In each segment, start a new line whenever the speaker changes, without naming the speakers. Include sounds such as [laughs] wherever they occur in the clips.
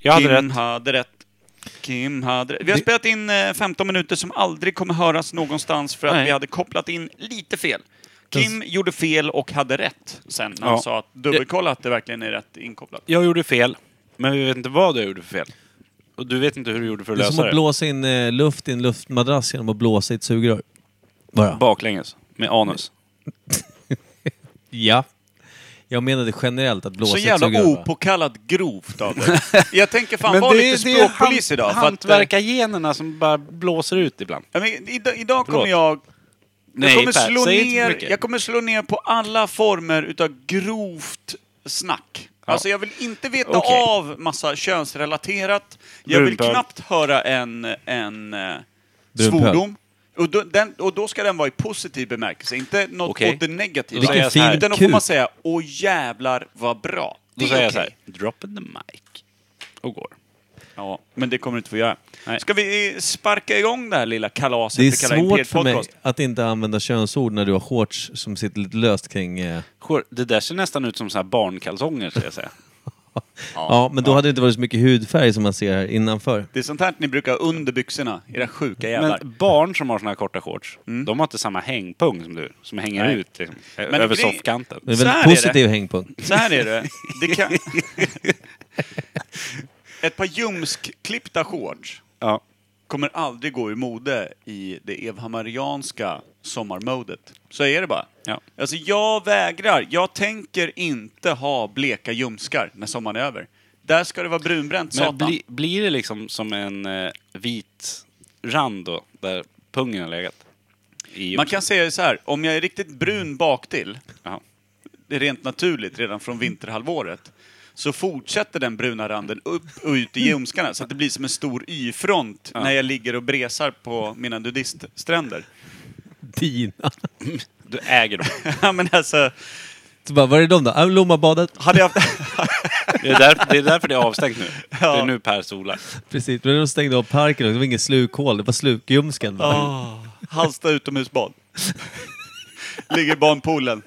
Jag hade
Kim
rätt.
hade rätt. Kim hade rätt. Vi har spelat in eh, 15 minuter som aldrig kommer höras någonstans för att
Nej.
vi hade kopplat in lite fel. Kim gjorde fel och hade rätt sen när han
Ja.
sa att dubbelkolla att det verkligen är rätt inkopplat.
Jag gjorde fel, men vi vet inte vad jag gjorde för fel. Och du vet inte hur du gjorde för att
Det är som
lösa
att
det.
blåsa in eh, luft i en luftmadrass genom att blåsa i ett sugrör. Bara.
Baklänges, med anus.
Ja. Jag menade generellt att blåsa
Så
i ett
jävla
sugrör. va?
opåkallat grovt av
[laughs]
dig. Jag tänker fan vara lite språkpolis idag. för att, eh,
hantverkargenerna som bara blåser ut ibland.
Ja, men idag, idag
Förlåt.
kommer jag...
Nej,
jag, kommer
Per,
slå
säg inte för
ner,
mycket.
jag kommer slå ner på alla former utav grovt snack. Alltså jag vill inte veta
Okej.
av massa könsrelaterat. Jag vill
Brunpöl.
knappt höra en, en eh,
Brunpöl.
svordom. Och då, den, och då ska den vara i positiv bemärkelse, inte något
Okej.
åt det negativa.
Vilken
Utan-
fin
Utan då får man
kuk.
säga, åh jävlar vad bra. Det
Då
är
säger jag så
okej.
här, drop in the mic. Och går.
Ja, men det kommer du inte få göra.
Nej.
Ska vi eh, sparka igång det här lilla kalaset
Det är
vi kallar Imperiet
svårt för mig
Podcast?
att inte använda könsord när du har shorts som sitter lite löst kring... Eh...
Går. Det där ser nästan ut som så här barnkalsonger, ska
[laughs]
jag säga.
Ja, men då hade det inte varit så mycket hudfärg som man ser här innanför.
Det är sånt här ni brukar ha under byxorna, era sjuka jävlar. Mm.
Men barn som har såna här korta shorts, de har inte samma hängpung som du, som hänger
Nej.
ut liksom,
Men
över
grej-
soffkanten.
Det är
Så
väldigt
här är det.
positiv hängpunkt.
Så här är det. det
[laughs]
kan... Ett par ljumskklippta shorts
Ja.
kommer aldrig gå i mode i det evhammarianska sommarmodet. Så är det bara.
Ja.
Alltså jag vägrar. Jag tänker inte ha bleka ljumskar när sommaren är över. Där ska det vara brunbränt
Men
satan.
bli, blir det liksom som en eh, vit rand då, där pungen har legat? I
Man kan säga så här, om jag är riktigt brun baktill,
Jaha.
det är rent naturligt redan från vinterhalvåret, så fortsätter den bruna randen upp och ut i ljumskarna så att det blir som en stor Y-front när jag ligger och bresar på mina nudiststränder.
Dina.
[laughs] Du äger dem. [laughs]
Ja, men alltså,
Så bara, var är de då? Ah, Lommabadet.
[laughs] hade jag haft...
Det är, därför, det är därför det är avstängt [laughs] nu.
Ja.
Det är nu Per solar.
Precis, men de stängde av parken och det var ingen slukhål, det var slukljumsken. bara.
Oh, [laughs] Halsta utomhusbad. [laughs] Ligger i barnpoolen.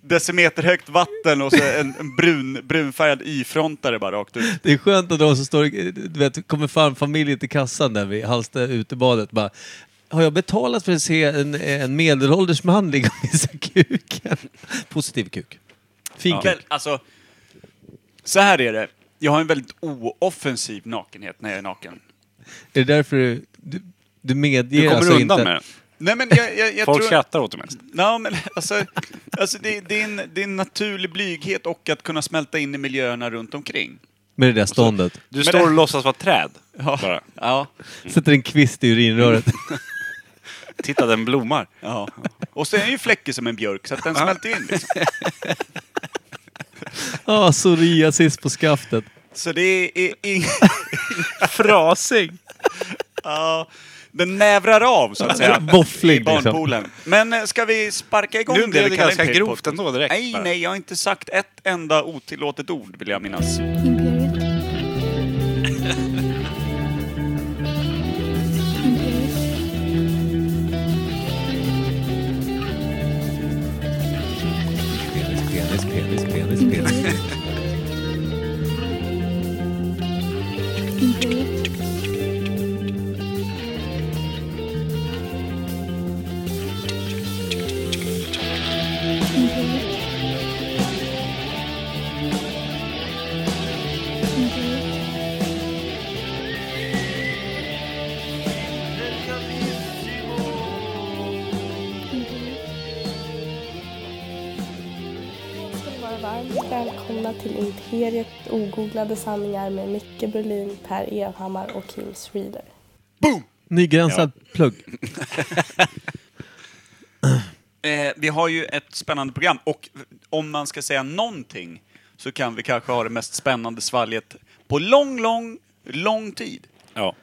Decimeterhögt vatten och så en, en brun, brunfärgad Y-frontare bara rakt ut.
Det är skönt att de som står, du vet, kommer fram familjen till kassan där vid Hallsta utebadet bara har jag betalat för att se en, en medelålders man [laughs] ligga och visa kuken? Positiv kuk. Fin
Ja.
kuk.
Väl, alltså, så här är det. Jag har en väldigt ooffensiv nakenhet när jag är naken.
Är det därför du, du, du medger
Du kommer
alltså
undan
inte...
med det.
Nej men jag, jag, jag
Folk
tror...
skrattar åt det mest.
Nej, men [laughs] alltså, alltså det, det, är en, det är en naturlig blyghet och att kunna smälta in i miljöerna runt omkring.
Med det där ståndet.
Du
Men
står
det-
och låtsas vara [laughs] träd.
Ja.
Bara.
Ja.
Mm.
Sätter en kvist i
[laughs]
urinröret.
Titta, den blommar.
ja. Och så är den ju fläckig som en björk, så att den smälter in. Liksom.
Ah, psoriasis på skaftet.
Så det är... är, är
[laughs] Frasig!
ja, den nävrar av, så att säga.
Våffling,
I barnpoolen. Men eh, ska vi sparka igång
Nu blev
vi
det
kallar
ganska
en
grovt
podcast?
ändå direkt,
Nej,
bara.
nej, jag har inte sagt ett enda otillåtet ord, vill jag minnas.
Imperiet. Imperiet.
Penis, penis, penis, penis.
Imperiet. Imperiet. Imperiet.
ska ni vara varmt välkomna till Imperiet ogooglade sanningar med Micke Berlin, Per Evhammar och Kim Schreeder.
Nygränsad plugg.
Eh, vi har ju ett spännande program och om man ska säga någonting så kan vi kanske ha det mest spännande svalget på lång, lång, lång tid.
Ja.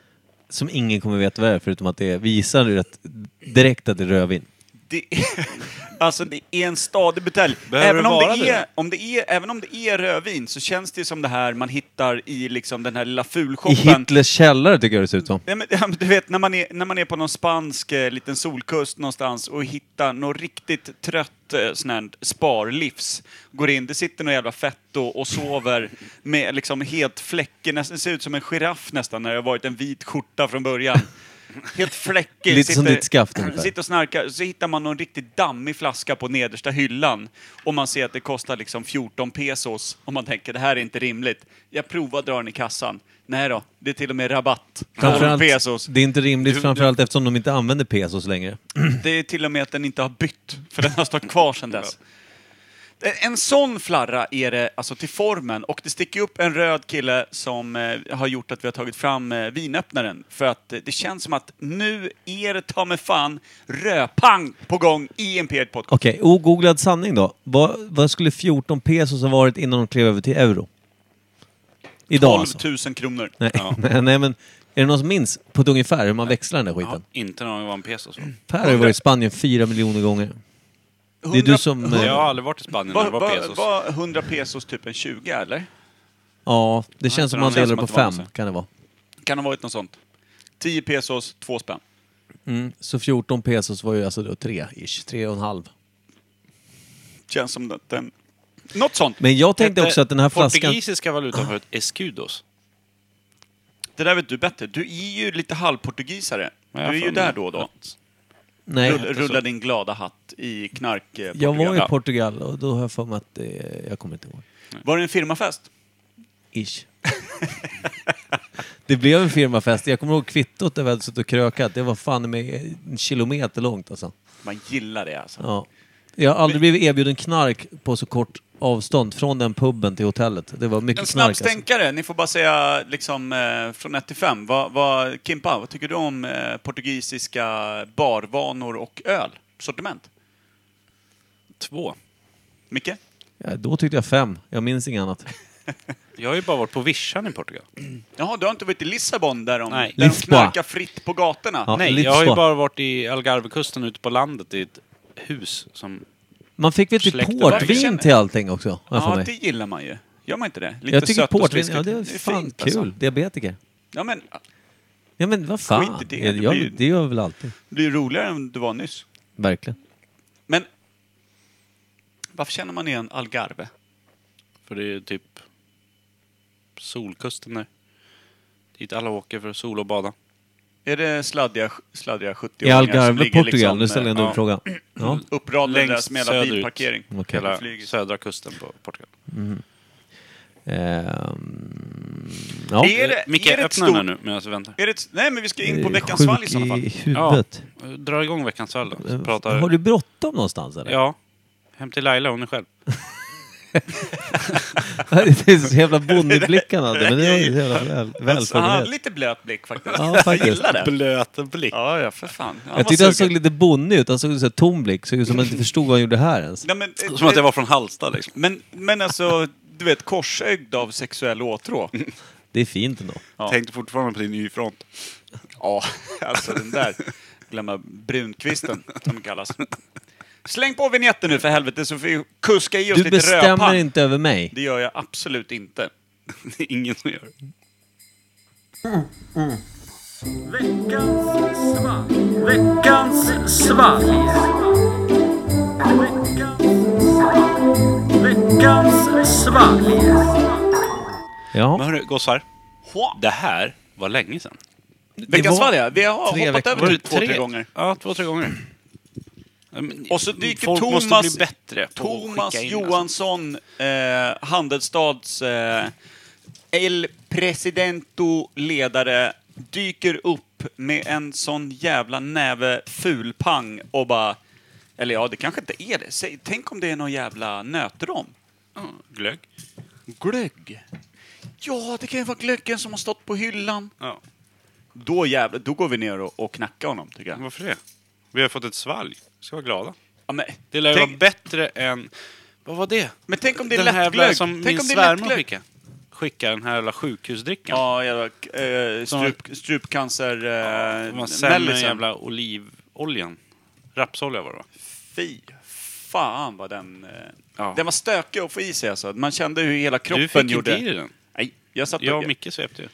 Som ingen kommer veta vad det är förutom att det är, visar rätt direkt att det är rödvin.
det är, [laughs] alltså det är en stadig butelj.
Behöver
även
det
om
vara
det, är,
det?
om det är, även om det är rödvin så känns det som det här man hittar i liksom den här lilla
I
fulshoppen.
Hitlers källare tycker jag det ser ut som.
Ja, men, [laughs] ja, men du vet, när man, är, när man är på någon spansk eh, liten solkust någonstans och hittar någon riktigt trött eh, sån här sparlivs. Går in, det sitter någon jävla fetto och sover med liksom helt fläckig, nästan ser ut som en giraff nästan när det har varit en vit skjorta från början. Helt fläckig.
Lite som ditt skaft ungefär.
Sitter och snarkar, så hittar man någon riktigt dammig flaska på nedersta hyllan. Och man ser att det kostar liksom 14 pesos. Och man tänker, det här är inte rimligt. Jag provar att dra den i kassan. Nej då, det är till och med rabatt. 12
Framförallt,
pesos.
det är inte rimligt framförallt eftersom de inte använder pesos längre.
Det är till och med att den inte har bytt, för den har stått kvar sedan dess. Eh, En sån flarra är det alltså till formen och det sticker upp en röd kille som eh, har gjort att vi har tagit fram eh, vinöppnaren. För att eh, det känns som att nu är det ta mig fan röpang på gång i Imperiet Podcast.
Okej, ogooglad sanning då. Vad, vad skulle 14 pesos ha varit innan de klev över till euro? Idag
12
alltså.
000 kronor.
Nej, nej, [laughs] men är det någon som minns på ett ungefär hur man växlar den där
Ja,
skiten?
inte någon gång var en pesos. va?
Per har ju varit i Spanien fyra miljoner gånger. Det är du som... eh,
Jag har aldrig varit i Spanien när
Var,
det var pesos.
var 100 pesos typ en 20 eller?
Ja, det känns som
det
man
känns
delar
som
på
att det var
fem,
något sånt.
kan det vara.
Kan ha varit något sånt. 10 pesos, 2 spänn.
Mm. Så 14 pesos var ju alltså då tre, ish. Tre och en halv.
Känns som att den... Något sånt.
Men jag tänkte
Hette
också att den här flaskan...
Portugisiska valutan förut, escudos.
Det där vet du bättre. Du är ju lite halvportugisare. Du
Ja, jag
är ju
får-
där då och då.
Nej,
Rull, rulla din glada hatt i knark eh,
jag var
Portugal.
i Portugal och då har jag för mig att... Eh, jag kommer inte ihåg.
Var det en firmafest?
Ish. det blev en firmafest. Jag kommer ihåg kvittot där vi hade suttit och krökat. Det var fan med en kilometer långt alltså.
Man gillar det alltså.
Ja. Jag har aldrig blivit erbjuden knark på så kort avstånd från den puben till hotellet. Det var
En
mycket knark alltså.
snabbstänkare, ni får bara säga liksom eh, från 1 till 5. Vad, vad, Kimpa, vad tycker du om eh, portugisiska barvanor och öl? Sortiment?
Två.
Micke?
Ja, då tyckte jag fem. Jag minns inget annat.
Jag har ju bara varit på vischan i Portugal.
Jaha, du har inte varit i Lissabon där de,
Nej.
där de
Lisboa.
knarkar fritt på gatorna?
Ja.
Nej,
lite
jag har ju
så.
bara varit i Algarvekusten ute på landet i ett hus som...
Man fick väl typ
Släkten
portvin
verkligen.
till allting också, har jag för
Ja,
mig.
det gillar man ju. Gör man inte det? Lite
Jag tycker
sött och
portvin,
sliskigt.
ja det är fan
fint,
kul.
alltså.
Diabetiker.
Ja, men
Ja men vad fan.
Skit i det,
Ja,
det
jag-
blir ju-
det gör jag väl alltid.
det blir roligare än det var nyss.
Verkligen.
Men varför känner man igen Algarve?
För det är ju typ solkusten där. Dit alla åker för att sol och bada.
Är det sladdiga, sladdiga
I
70-åringar som
Algarve,
ligger
Portugal,
liksom,
nu ställer jag en
eh,
dum fråga. Ja.
ja, uppradade
Längst
där som jävla
söderut.
bilparkering?
Okej.
Hela
Flyget.
södra kusten på Portugal.
Ehm, ja.
Är det-
Eh, Micke,
är det ett
öppna den här
stort-
nu medan vi väntar.
Är det, ett- nej, men vi ska in på
Eh,
veckans
sjuk
fall i sådana fall.
huvudet.
Ja, eh, dra igång veckans fall då. Så
Eh,
pratar...
Har du bråttom någonstans eller?
Ja. Hem till Laila, hon är själv.
[laughs] det är så jävla bondeblick han hade, men det var ju så jävla
[laughs]
väl,
Alltså, han hade
välförberett.
lite blöt blick faktiskt.
Ja, faktiskt.
Jag gillar det.
Blöt blick.
Ja, ja, för fan. Han
Jag
var
tyckte han
sugen.
såg lite bonnig ut, han såg ut som en tom blick, såg ut som att han inte förstod vad han gjorde här ens.
Nej, men, eh,
Som att jag var från Halsta liksom.
men, men alltså, du vet, korsögd av sexuell åtrå.
Mm.
Det är fint ändå.
Ja.
Tänkte fortfarande på din ny front.
[laughs] Ja, alltså den där. Glömma brunkvisten, som den kallas. Släng på vignetten nu för helvete så får vi kuska i oss
Du
lite
bestämmer
rödpann.
inte över mig.
Det gör jag absolut inte.
[laughs] Det är ingen som gör det.
Veckans svalg. Veckans svalg.
Men
Ja.
hörru, gossar. Det här var länge sedan.
Veckans
var
fall, ja. Vi har
tre
hoppat
veckor.
över typ två, tre gånger.
Ja, två, tre gånger. Mm,
Och så dyker
Folk
Thomas,
måste bli bättre på att
Thomas
skicka in, alltså.
Johansson, eh, Handelsstads eh, El Presidento ledare, dyker upp med en sån jävla näve fulpang och bara... Eller ja, det kanske inte är det. Säg, tänk om det är någon jävla nötrom.
Alltså. Ja, glögg.
Glögg. Ja, det kan ju vara glöggen som har stått på hyllan.
Ja.
Då jävlar, då går vi ner och, och knackar honom, tycker jag.
Varför det? Vi har fått ett svalg. Ska vara glada.
Ja, men,
Det lär ju vara
tänk,
bättre än... Vad var det?
men tänk om det är
den här jävla
lättglögg.
som
Tänk
min
om det är
svärmor
lättglögg.
skickade. Skickade den här jävla sjukhusdrickan.
Ja, jävla eh,
Som-
strup, strupcancer... Eh,
Den var sämre än
mellisen.
jävla olivoljan. Rapsolja var det va?
Fy fan vad den... eh,
Ja.
Den var stökig att få i sig alltså. Man kände hur hela kroppen
Du fick
gjorde...
inte i dig den.
Nej, jag satt
Jag
och...
och Micke svepte ju.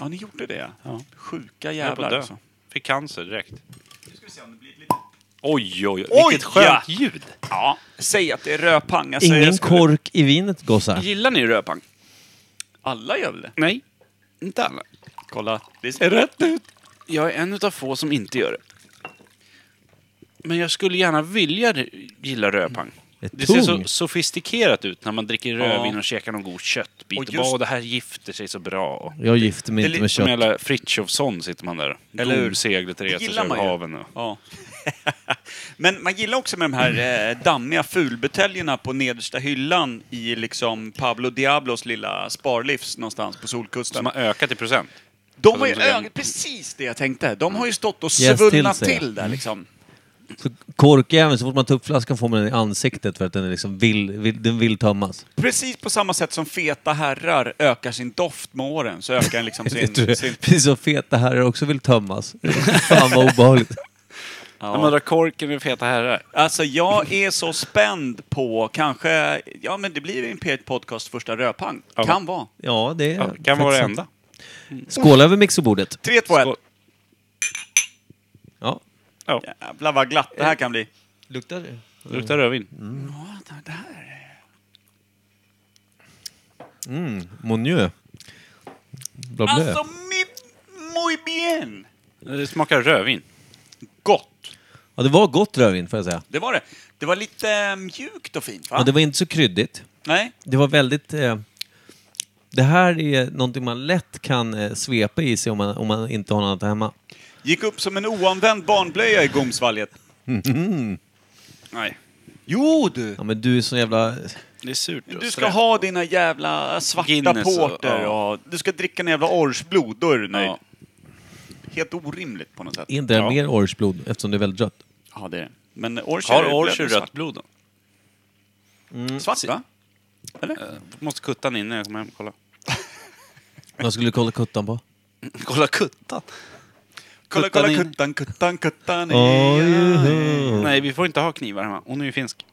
Ja, ni gjorde det?
Ja.
Sjuka
Jag höll på
jävlar
att dö.
alltså.
Fick cancer direkt.
Nu ska vi se om det blir lite...
Oj, oj, oj.
Oj,
Vilket skönt
ja.
ljud.
Ja, säg att det är rödpang. Alltså,
Ingen
jag skulle-
kork i vinet, gossar.
Gillar ni rödpang?
Alla gör väl det?
Nej, inte alla.
Kolla, det ser rätt ut.
Jag är en utav få som inte gör det. Men jag skulle gärna vilja r- gilla rödpang.
Ett
Det ser så
tung.
sofistikerat ut när man dricker rödvin
Ja.
och käkar någon god köttbit.
Och
Och
just-
bara, "Åh, det här gifter sig så bra. Och
Jag gifte mig
Det är
inte
lite
med
som
kött.
hela Frithiofsson sitter man där.
Eller hur?
Dom seglet reser sig
gillar
över
man ju.
haven. Och...
Ja. Men man gillar också med de här eh, dammiga fulbuteljerna på nedersta hyllan i liksom Pablo Diablos lilla sparlivs någonstans på Solkusten.
Som har ökat i procent.
De har ju
Som en-
ö- precis det jag tänkte. De har ju stått och
Jäst till
svullnat
sig. Mm.
till, där liksom.
Så korkjäveln, så fort man tar upp flaskan får man den i ansiktet för att den, är liksom vill, vill, den vill tömmas.
Precis på samma sätt som feta herrar ökar sin doft med åren så ökar den
[laughs]
liksom
Vet du,
sin... sin
Precis som feta herrar också vill tömmas. [laughs] Fan vad obehagligt.
När man drar korken med feta herrar.
Alltså jag är så spänd på kanske, ja men det blir Imperiet Podcast första rödpang.
Ja.
Kan vara.
Ja, det är
Ja, kan vara det
faktiskt
enda.
sant. Skål över mixerbordet.
3, 2, 1.
Skål.
Ja.
Ja,
Jävlar vad glatt det här kan bli.
Luktar det?
det luktar rödvin.
Ja, det här.
Monieu. Bla bla.
Alltså, mi, muy bien!
Det smakar rödvin.
Gott.
Ja, det var gott rödvin får jag säga.
Det var det. Det var lite eh, mjukt och fint, va?
Ja, det var inte så kryddigt.
Nej?
Det var väldigt... Eh, det här är någonting man lätt kan eh, svepa i sig om man, om man inte har något annat hemma.
Gick upp som en oanvänd barnblöja i gomsvalget.
Mhm.
Nej,
Jo du!
Ja, men du är så jävla...
det är surt. och
Du ska
fränt.
ha dina jävla svarta
Guinness och-
porter
ja.
och, du ska dricka en jävla orsblod, då är du nöjd.
Ja.
Helt orimligt på något sätt.
Är inte det här
Ja.
mer orangeblod eftersom det är väldigt rött?
Ja, det är det. Men orch
Har
är ju
Orcher
blöd-
rött blod då?
Svart va?
Eh, Måste kutta den innan jag kommer hem och kolla.
Vad skulle du kolla kuttan på?
[laughs] Kolla kuttan?
Kolla,
Kuttan
kolla
in.
kuttan, kuttan, kuttan.
Oj,
Nej, vi får inte ha knivar hemma. Hon är ju finsk.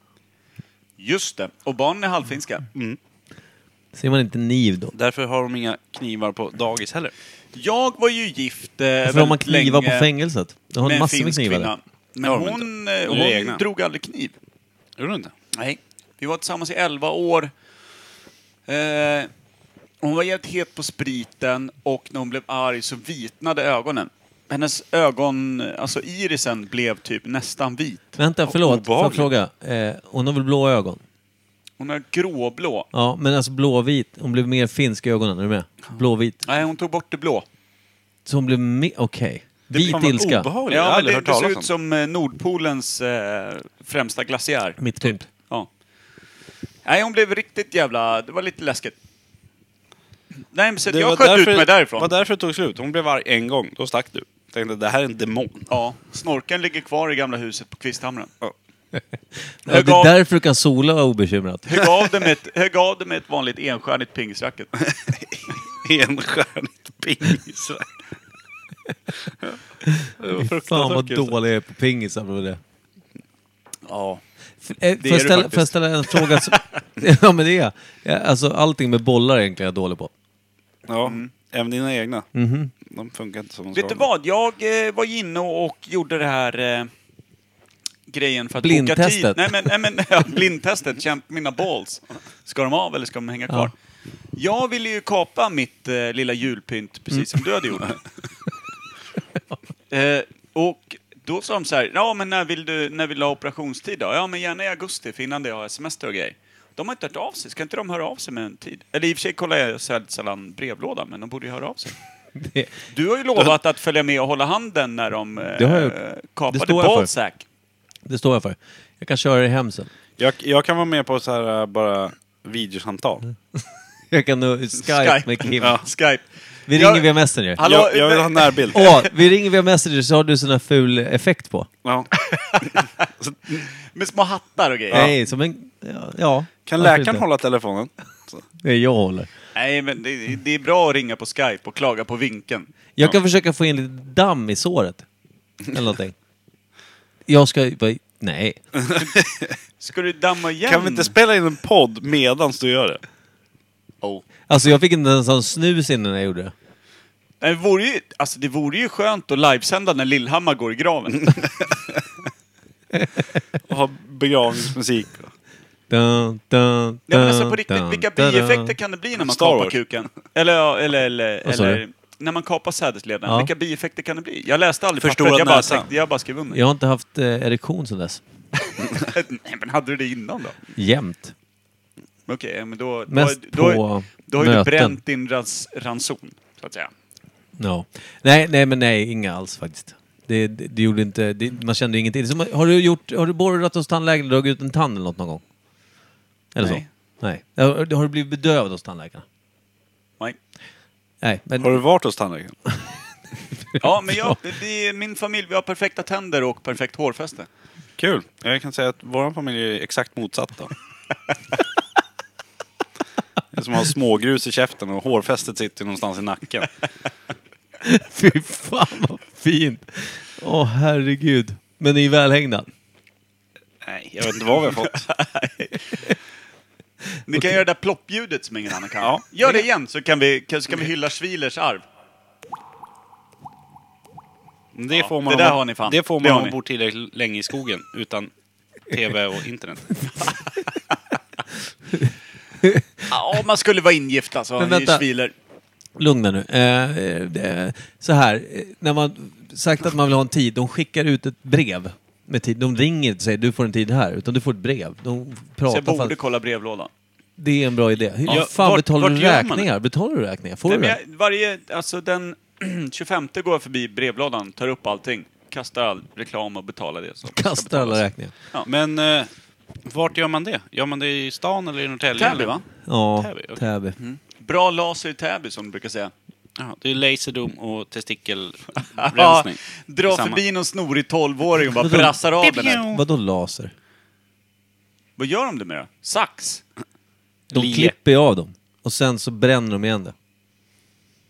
Just det. Och barnen är halvfinska.
Ser man inte niv då?
Mm. Därför har de inga knivar på dagis heller.
Jag var ju gift eh,
Varför har man
väldigt
knivar
länge
på fängelset? De har
med en
massor med
finsk
knivar
kvinna.
där.
Men
Ja, men
hon,
det
eh,
är
hon
egna.
drog aldrig kniv.
Gjorde du inte?
Nej. Vi var tillsammans i 11 år. Eh, hon var jävligt het på spriten och när hon blev arg så vitnade ögonen. Hennes ögon, alltså irisen, blev typ nästan vit.
Vänta, förlåt. Får jag
obehagligt.
fråga? Eh, hon har väl blå ögon?
Hon är gråblå.
Ja, men alltså blåvit. Hon blev mer finsk i ögonen, är du med? Blåvit.
Nej, hon tog bort det blå.
Så hon blev mer... Okej. Vit
Fan, vad
ilska.
Obehagligt. jag har
Ja, men
aldrig
det,
hört
det ser
talas
ut
om.
som eh, Nordpolens eh, främsta glaciär.
Mittpunkt.
Ja. Nej, hon blev riktigt jävla... Det var lite läskigt. Nej, men så
Det var
jag sköt
därför-
ut mig därifrån.
var därför det tog slut. Hon blev arg en gång. Då stack du. Tänkte, det här är en demon. [laughs]
Ja, snorken ligger kvar i gamla huset på Kvisthamren.
Ja, det
Jag gav-
är därför du kan sola obekymrat.
Högg av det med ett, högg av det med ett vanligt enstjärnigt
[laughs]
pingisracket.
Enstjärnigt pingis. Det var
Fan vad
fruktansvärt kul.
dålig jag är på pingisar. Bro, det.
Ja.
F- eh,
du
Får jag ställa-
faktiskt.
får jag ställa en fråga? Som... [laughs] ja, men det är jag. Ja, Alltså, allting med bollar är egentligen jag dålig på.
Ja, Mm. även dina egna. De funkar inte som de ska.
Vet du vad? Jag eh, var ju inne och gjorde det här eh, grejen för att boka tid.
Blindtestet.
Nej, men, nej, men [laughs] ja, blindtestet. Kämpa mina balls. Ska de av eller ska de hänga kvar? Jag ville ju kapa mitt eh, lilla julpynt
Mm.
precis som du hade gjort.
[laughs]
eh, och då sa de så här, ja men när vill du, när vill du ha operationstid då? Ja men gärna i augusti, för innan det har jag semester och grejer. De har inte hört av sig, ska inte de höra av sig med en tid? Eller i och för sig kollar jag så här sällan brevlådan, men de borde ju höra av sig.
[laughs] Det-
Du har ju lovat att följa med och hålla handen när de eh,
Det har jag gjort. Det
kapade
står jag för.
Balzac.
Det står jag för. Jag kan köra det hem sen.
Jag, jag kan vara med på så här äh, bara videosamtal.
Jag kan nå Skype, med Kim.
[laughs] Ja, Skype.
Vi
Jag-
ringer via Messenger.
Hallå,
jag, jag vill
men-
ha [laughs] närbild.
Åh, vi ringer via Messenger så har du sån här ful effekt på.
Ja.
Med små hattar och grejer.
Nej, som en... Ja. ja
Kan
varför
läkaren
inte?
hålla telefonen? Så.
Nej, jag håller.
Nej, men det, det är bra att ringa på Skype och klaga på vinkeln.
Jag kan försöka få in lite damm i såret. Eller någonting. jag ska... vad- Nej.
Ska du damma igen?
Kan vi inte spela in en podd medan du gör det?
oh.
Alltså jag fick inte ens ha en snus innan jag gjorde det.
Nej, det, vore ju, alltså, det vore ju skönt att livesända när Lillhammar går i graven.
[laughs]
Och ha begravningsmusik.
Dun, dun,
Nej, men
dun,
alltså på riktigt,
dun,
vilka
dun, dun.
bieffekter kan det bli när man
Star
kapar
Wars.
kuken? Eller, ja, eller, eller,
Vad sa du?
eller när man kapar sädesleden.
Ja.
Vilka bieffekter kan det bli? Jag läste aldrig
Förstorad
pappret, jag bara,
näsa.
tänkte, jag bara skrev under.
Jag har inte haft eh, erektion sedan dess.
[laughs] Nej, men hade du det innan då?
Jämt.
Okej, ja, men då, då,
Mest
då, har-
på
då har ju du
möten.
bränt din rans, ranson, så att säga.
Ja. Nej, nej, men nej, inga alls faktiskt. Det, det, det gjorde inte... Det, man kände ju ingenting. Det är som, har du gjort... Har du borrat hos tandläkaren och dragit ut en tand eller något någon gång? Eller
Nej.
så? Nej. Har, har du blivit bedövad hos tandläkaren?
Nej.
Nej, men...
Har du varit hos tandläkaren?
Ja, men jag, vi, min familj, vi har perfekta tänder och perfekt hårfäste.
Kul. Jag kan säga att vår familj är exakt [laughs] motsatta. Det är som att ha smågrus i käften och hårfästet sitter någonstans i nacken.
[laughs] Fy fan vad fint! Åh herregud. Men ni är välhängda?
Nej, jag vet inte vad vi har fått.
Ni kan göra det där ploppljudet som ingen annan kan. Ja. Gör det igen så kan vi, kan, så kan vi hylla Schwilers arv.
Men Det
Ja,
får man,
det där
om man-
har ni fan.
Det får
Det
man
har
om man
ni.
bor tillräckligt länge i skogen utan TV och internet.
[laughs] Ja, man skulle vara ingift alltså,
Men
i
vänta.
Schwiler.
Lugna nu. Eh, eh, det- så här, eh, när man sagt att man vill ha en tid, de skickar ut ett brev med tid. De ringer inte och säger du får en tid här, utan du får ett brev. De
Så
pratar.
jag borde
Borde...
kolla brevlådan.
Det är en bra idé. Hur
Ja,
fan
vart-
betalar
vart
du
gör man
räkningar? Betalar du räkningar? Får
Nej,
du
men
det?
jag, varje, alltså den [clears throat] 25 går jag förbi brevlådan, tar upp allting, kastar all reklam och betalar det. som ska
Kastar alla
betalas.
räkningar.
Men eh, vart gör man det? Gör man det i stan eller i Norrtälje?
Täby va?
Ja,
Täby, okej. Mm.
Täby.
Bra laser i Täby som du brukar säga.
Ja, det är laserdom
[laughs]
och testikelrensning.
Dra
Samma.
förbi någon snorig tolvåring och [laughs] bara
Vadå?
brassar av den här.
Vadå laser?
Vad gör de det med då? Sax?
De
Lie.
klipper ju av dem och sen så bränner de igen det.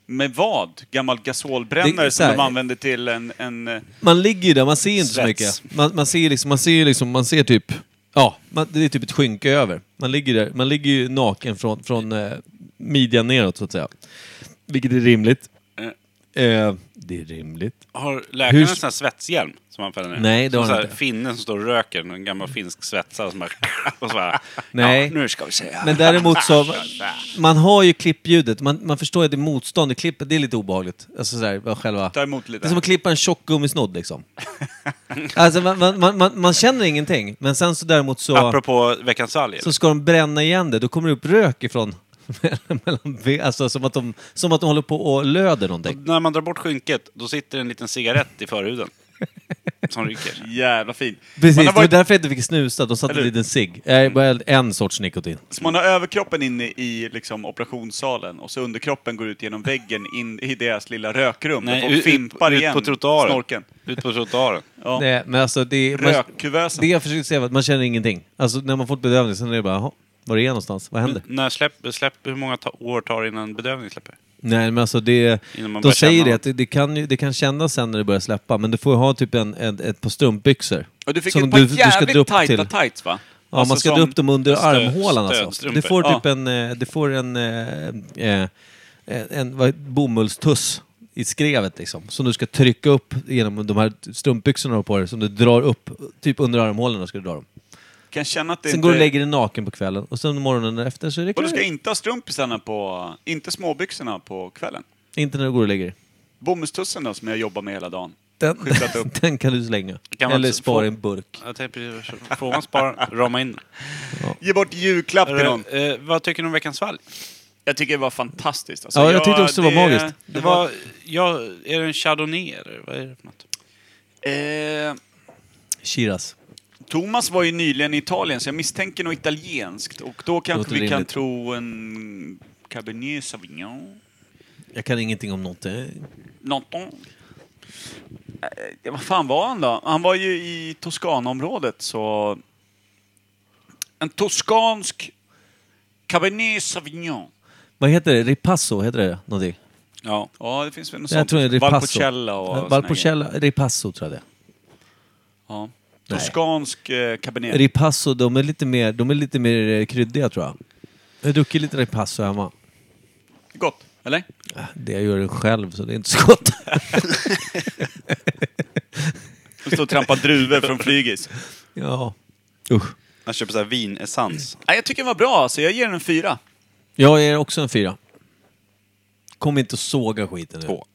Med vad? Gammal
Det är
gasolbrännare
så
som
här-
de använde till en... en eh,
Man ligger ju där, man ser inte så
Svets.
mycket. Man, man ser liksom, man ser liksom, man ser typ... Ja, man, det är typ ett skynke över. Man ligger där, man ligger ju naken från, från eh, midjan neråt så att säga. Vilket är rimligt.
Eh,
Eh, det är rimligt.
Har läkaren en
Hur-
sån här svetshjälm som han fäller ner?
Nej, det har
som
han
så här
inte.
Finnen som står och röker, en gammal finsk svetsare som bara... [laughs] Och så bara
Nej.
Ja, nu ska vi se här.
Men däremot så, man har ju klippljudet, man, man förstår ju att det är motstånd i klippet, det är lite obehagligt. Alltså sådär, vad själva...
Ta emot lite.
Det är som att klippa en tjock gummisnodd liksom. [laughs] alltså man, man, man, man, man känner ingenting, men sen så däremot så...
Apropå veckans valg.
Så ska de bränna igen det, då kommer det upp rök ifrån [laughs] mellan ben. Alltså som att, de, som att de håller på och löder någonting.
När man drar bort skynket, då sitter en liten cigarett i förhuden. Som
[laughs]
ryker.
jävla fint.
Precis,
man,
det
har
var
varit,
därför jag inte fick snusa. De satte
Eller
en
hur?
liten cigg. Nej, bara En sorts nikotin.
så man har överkroppen inne i liksom, operationssalen och så underkroppen går ut genom väggen in i deras lilla rökrum. Nej, och folk
ut-
fimpar
ut,
igen
på trottoaren.
snorken.
Ut på trottoaren.
[laughs] Ja.
Nej, men alltså det... man-
Rökkuversen.
Det jag försökte säga var att man känner ingenting. Alltså när man fått bedövning, sen är det bara, jaha, var är jag någonstans? Vad
Mm.
händer?
När släpp, släpp, hur många ta, år tar det innan bedövning släpper?
Nej, men alltså det...
Innan man
De
börjar
säger
känna
det,
något.
att det, det, kan ju, det kan kännas sen när det börjar släppa, men du får ju ha typ en, en, ett par strumpbyxor.
Och du fick
Som
ett par jävligt
dra upp
tajta
till.
tights va?
Ja,
Alltså
man ska
som-
dra upp dem under
stöd-
armhålan alltså.
stödstrumpor.
Du får typ
Ja.
en, eh, du får en, eh, eh, en vad, bomullstuss i skrevet liksom. Som du ska trycka upp genom de här strumpbyxorna du har på dig. Som du drar upp, typ under armhålorna ska du dra dem.
Kan känna att det
Sen
inte...
går du och lägger dig naken på kvällen och sen morgonen efter så är det
Och du ska
klart.
inte ha strumpisarna på... Inte småbyxorna på kvällen.
Inte när du går och lägger dig.
Bomullstussen då, som jag jobbar med hela dagen.
[laughs] Den,
Skyddat upp.
den kan du slänga.
Kan man
Eller
inte
spara
få-
i en burk.
Jag tänkte precis, får man spara, rama in
Ge bort julklapp till någon.
eh, Vad tycker ni om veckans valg?
Jag tycker det var fantastiskt. Alltså,
Ja, jag tyckte också det var magiskt.
Det var, ja, är det en chardonnay eller vad är det för något?
Eh,
Shiraz.
Thomas var ju nyligen i Italien, så jag misstänker något italienskt. Och då kanske
Låter
vi kan
rimligt.
tro en Cabernet Sauvignon.
Jag kan ingenting om någonting.
Någonting. Eh, ja, vad fan var han då? Han var ju i Toscanaområdet, så... En toskansk Cabernet Sauvignon.
Vad heter det? Ripasso, heter det någonting?
Ja, det finns väl något
Jag
sånt.
tror det är Ripasso.
Valpochella och såna
Valpochella, Ripasso tror jag det är.
grejer. Ja. Toskansk eh, kabinett.
Ripasso, de är lite mer, de är lite mer eh, kryddiga tror jag. Jag har druckit lite Ripasso hemma.
Gott, eller?
Äh, Det jag gör den själv så det är inte så gott. [laughs]
De står och trampar druvor från flygis.
ja. Usch.
Jag köper så här vinessens.
Nej, jag tycker den var bra, så jag ger den en fyra.
Jag ger också en fyra. Kom inte och såga skiten nu.
Två.